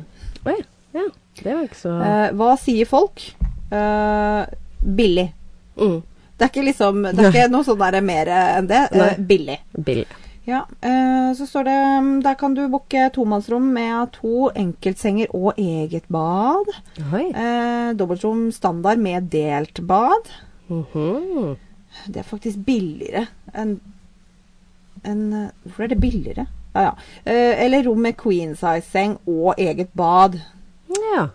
Speaker 1: Oi. Ja. Det var ikke så
Speaker 2: Eh, hva sier folk? Eh, billig.
Speaker 1: mm.
Speaker 2: Det er ikke liksom Det er ikke noe sånn der mer eh, enn det. Eh,
Speaker 1: Nei.
Speaker 2: billig.
Speaker 1: billig.
Speaker 2: Ja, eh, så står det mm, Der kan du booke tomannsrom med to enkeltsenger og eget bad.
Speaker 1: Oi.
Speaker 2: Eh, Dobbeltrom standard med delt bad.
Speaker 1: Mhm.
Speaker 2: Det er faktisk billigere enn enn, eh, Hvorfor er det billigere? Ja, ja. Eh, eller rom med queen size-seng og eget bad.
Speaker 1: Ja.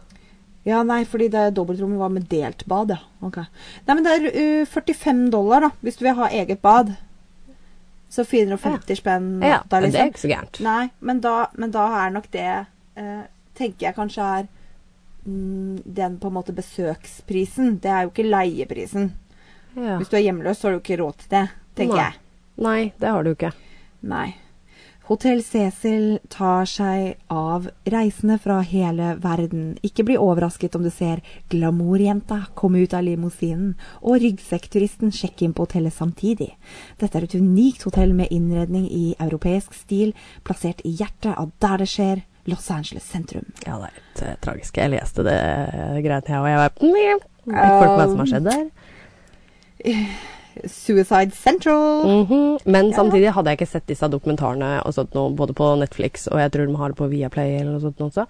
Speaker 2: Ja, nei, fordi det dobbeltrommet var med delt bad, ja. Ok. Nei, men det er eh, 45 dollar, da, hvis du vil ha eget bad. Så 450 spenn
Speaker 1: ja. Men
Speaker 2: natta,
Speaker 1: det er
Speaker 2: liksom.
Speaker 1: ikke så gærent.
Speaker 2: Nei, men da, men da er nok det eh, Tenker jeg kanskje er mm, den på en måte besøksprisen. Det er jo ikke leieprisen.
Speaker 1: Ja.
Speaker 2: Hvis du er hjemløs, så har du ikke råd til det, tenker
Speaker 1: Nei.
Speaker 2: jeg.
Speaker 1: Nei, det har du ikke.
Speaker 2: Nei. Hotell Cecil tar seg av reisende fra hele verden. Ikke bli overrasket om du ser glamourjenta komme ut av limousinen og ryggsekkturisten sjekke inn på hotellet samtidig. Dette er et unikt hotell med innredning i europeisk stil, plassert i hjertet av der det skjer, Los Angeles sentrum.
Speaker 1: Ja, det er litt eh, tragisk. Jeg leste det eh, greit, jeg og Jeg var Mm. Jeg får ikke hva som har skjedd der.
Speaker 2: Suicide Central!
Speaker 1: Mhm. Men samtidig hadde jeg ikke sett disse dokumentarene og sånt noe, både på Netflix og jeg tror de har det på Viaplay eller noe sånt noe også,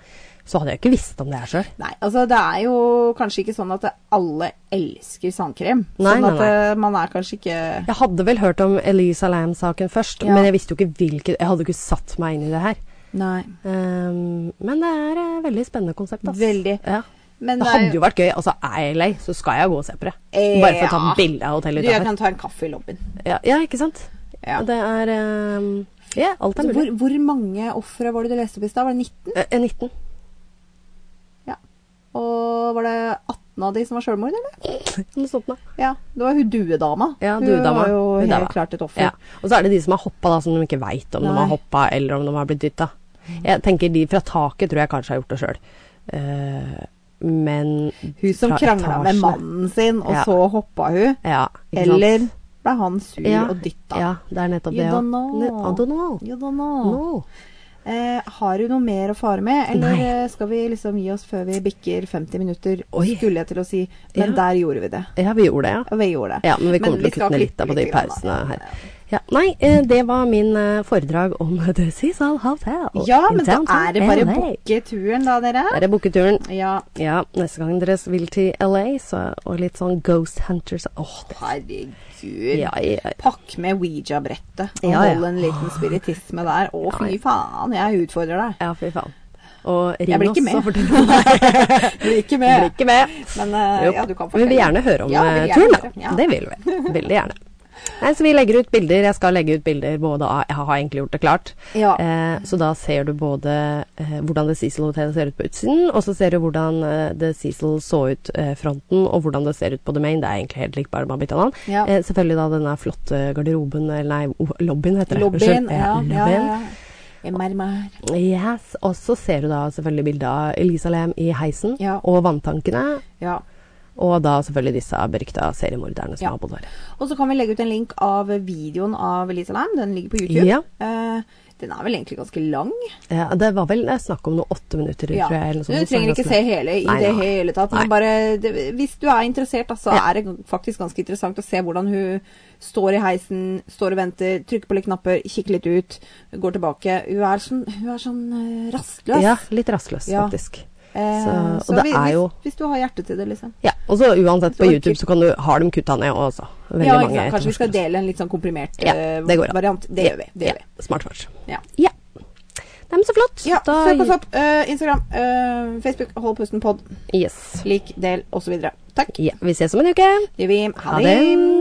Speaker 1: så hadde jeg ikke visst om det her sjøl.
Speaker 2: Nei, altså det er jo kanskje ikke sånn at alle elsker sandkrem.
Speaker 1: Nei,
Speaker 2: sånn
Speaker 1: nei,
Speaker 2: at
Speaker 1: nei.
Speaker 2: eh, man er kanskje ikke
Speaker 1: Jeg hadde vel hørt om Elisa Lam-saken først,
Speaker 2: Ja.
Speaker 1: men jeg visste jo ikke hvilket Jeg hadde ikke satt meg inn i det her.
Speaker 2: Nei.
Speaker 1: Ehm, men det er et veldig spennende konsept. ass.
Speaker 2: Veldig.
Speaker 1: Ja.
Speaker 2: Men
Speaker 1: Det hadde jo vært gøy. Altså, er jeg lei, så skal jeg gå og se på det.
Speaker 2: Eh,
Speaker 1: Bare for å ta
Speaker 2: ja.
Speaker 1: et bilde av hotellet
Speaker 2: Du, jeg
Speaker 1: utafor.
Speaker 2: kan ta en kaffe i lobbyen.
Speaker 1: Ja, ja, ikke sant?
Speaker 2: Ja.
Speaker 1: Det er ehm, Ja, alt er
Speaker 2: Hvor,
Speaker 1: mulig.
Speaker 2: hvor mange ofre var det du leste opp i stad? Var det 19?
Speaker 1: Eh, 19.
Speaker 2: Ja. Og var det 18 av de som var selvmord, eller?
Speaker 1: Noe sånt noe.
Speaker 2: Ja. Det var hun duedama.
Speaker 1: Ja,
Speaker 2: hun
Speaker 1: duedama.
Speaker 2: var jo helt
Speaker 1: Duedama.
Speaker 2: klart et offer.
Speaker 1: Ja. Og så er det de som har hoppa, da, som de ikke veit om
Speaker 2: Nei.
Speaker 1: de har hoppa eller om de har blitt dytta. Jeg tenker de fra taket tror jeg kanskje har gjort det sjøl. Eh, men
Speaker 2: Hun som
Speaker 1: fra
Speaker 2: krangla med
Speaker 1: etasjene-
Speaker 2: mannen sin, og
Speaker 1: Ja.
Speaker 2: så hoppa hun.
Speaker 1: Ja, ikke sant?
Speaker 2: Eller ble han sur
Speaker 1: ja,
Speaker 2: og dytta?
Speaker 1: Ja, det er nettopp
Speaker 2: You
Speaker 1: det. ja.
Speaker 2: don't know.
Speaker 1: Ne- I don't know.
Speaker 2: You don't know.
Speaker 1: No.
Speaker 2: Eh, har du noe mer å fare med, eller
Speaker 1: Nei.
Speaker 2: eh, skal vi liksom gi oss før vi bikker 50 minutter?
Speaker 1: Oi.
Speaker 2: Skulle jeg til å si, men
Speaker 1: Ja.
Speaker 2: der gjorde vi det.
Speaker 1: Ja, vi gjorde det, ja.
Speaker 2: Og vi gjorde det.
Speaker 1: Ja, Men vi kommer til å
Speaker 2: skal
Speaker 1: kutte ned litt
Speaker 2: klippe
Speaker 1: da på de
Speaker 2: lite grann, da.
Speaker 1: pausene her. Ja, nei, eh, det var min eh, foredrag om The Cecil Hotel.
Speaker 2: Ja,
Speaker 1: in
Speaker 2: men da
Speaker 1: downtown
Speaker 2: er det bare å
Speaker 1: LA.
Speaker 2: booke turen, da,
Speaker 1: Da
Speaker 2: dere.
Speaker 1: er det booketuren.
Speaker 2: Ja,
Speaker 1: Ja, neste gang dere vil til LA, så, og litt sånn Ghost Hunters Åh, det
Speaker 2: herregud.
Speaker 1: Ja, ja.
Speaker 2: Pakk med Ouija-brettet og
Speaker 1: Ja, ja.
Speaker 2: hold en liten spiritisme der. Å, fy faen, jeg utfordrer deg.
Speaker 1: Ja, fy faen. Og ring
Speaker 2: Jeg blir ikke
Speaker 1: oss og
Speaker 2: med.
Speaker 1: fortell
Speaker 2: Blir ikke
Speaker 1: Blir
Speaker 2: med.
Speaker 1: ikke med.
Speaker 2: Men eh,
Speaker 1: Jo,
Speaker 2: ja, du kan
Speaker 1: vi
Speaker 2: fortelle.
Speaker 1: vil gjerne høre om
Speaker 2: Ja, vi vil
Speaker 1: eh,
Speaker 2: gjerne
Speaker 1: turen,
Speaker 2: høre.
Speaker 1: da.
Speaker 2: Ja.
Speaker 1: Det vil vi. Veldig gjerne. Nei, så Vi legger ut bilder. Jeg skal legge ut bilder både av Jeg har egentlig gjort det klart.
Speaker 2: Ja.
Speaker 1: Eh, så da ser du både eh, hvordan The Cecil Hotel ser ut på utsiden, og så ser du hvordan eh, The Cecil så ut eh, fronten, og hvordan det ser ut på The Main. Det er egentlig helt likt, bare man har bytta navn.
Speaker 2: Ja.
Speaker 1: Eh, selvfølgelig da denne flotte garderoben, eller nei, o- lobbyen heter det.
Speaker 2: Lobbyen.
Speaker 1: Unnskyld.
Speaker 2: Ja, ja,
Speaker 1: lobbyen.
Speaker 2: ja. MRMR.
Speaker 1: Yes, og så ser du da selvfølgelig bildet av Elisa Lem i heisen,
Speaker 2: Ja.
Speaker 1: og vanntankene,
Speaker 2: Ja.
Speaker 1: og da selvfølgelig disse berykta seriemorderne som
Speaker 2: Ja.
Speaker 1: har bodd her.
Speaker 2: Og så kan vi legge ut en link av videoen av Elisa Lam. Den ligger på YouTube.
Speaker 1: Ja.
Speaker 2: Eh, den er vel egentlig ganske lang.
Speaker 1: Ja, det var vel eh, snakk om noe åtte minutter,
Speaker 2: Ja.
Speaker 1: tror jeg. Eller noe
Speaker 2: Så
Speaker 1: sånt,
Speaker 2: du
Speaker 1: så
Speaker 2: trenger ikke
Speaker 1: ganske-
Speaker 2: se hele i
Speaker 1: Nei,
Speaker 2: det
Speaker 1: nei.
Speaker 2: hele tatt.
Speaker 1: Nei.
Speaker 2: Men bare, det, hvis du er interessert, da, så
Speaker 1: Ja.
Speaker 2: er det faktisk ganske interessant å se hvordan hun står i heisen, står og venter, trykker på litt knapper, kikker litt ut, går tilbake. Hun er sånn, hun er sånn eh, rastløs.
Speaker 1: Ja, litt rastløs,
Speaker 2: Ja.
Speaker 1: faktisk.
Speaker 2: Eh,
Speaker 1: Så- og
Speaker 2: så
Speaker 1: det
Speaker 2: vi-
Speaker 1: er jo-
Speaker 2: hvis, hvis du har hjerte til det, liksom.
Speaker 1: Ja, og så uansett på
Speaker 2: Så-
Speaker 1: YouTube så kan du, har de kutta ned også. Veldig
Speaker 2: Ja, ikke
Speaker 1: mange
Speaker 2: sant? Kanskje vi skal
Speaker 1: etterforskere.
Speaker 2: dele en litt sånn komprimert
Speaker 1: Ja,
Speaker 2: eh,
Speaker 1: det går an.
Speaker 2: variant. Det gjør vi. Det
Speaker 1: ja,
Speaker 2: gjør vi.
Speaker 1: Smart svart.
Speaker 2: Ja.
Speaker 1: Ja. Nei, men så flott.
Speaker 2: Ja,
Speaker 1: Da-
Speaker 2: søk oss opp. eh, Instagram, eh, Facebook, Hold pusten pod,
Speaker 1: Yes.
Speaker 2: lik, del osv. Takk.
Speaker 1: Ja, vi ses om en uke.
Speaker 2: Det gjør vi.
Speaker 1: Ha det.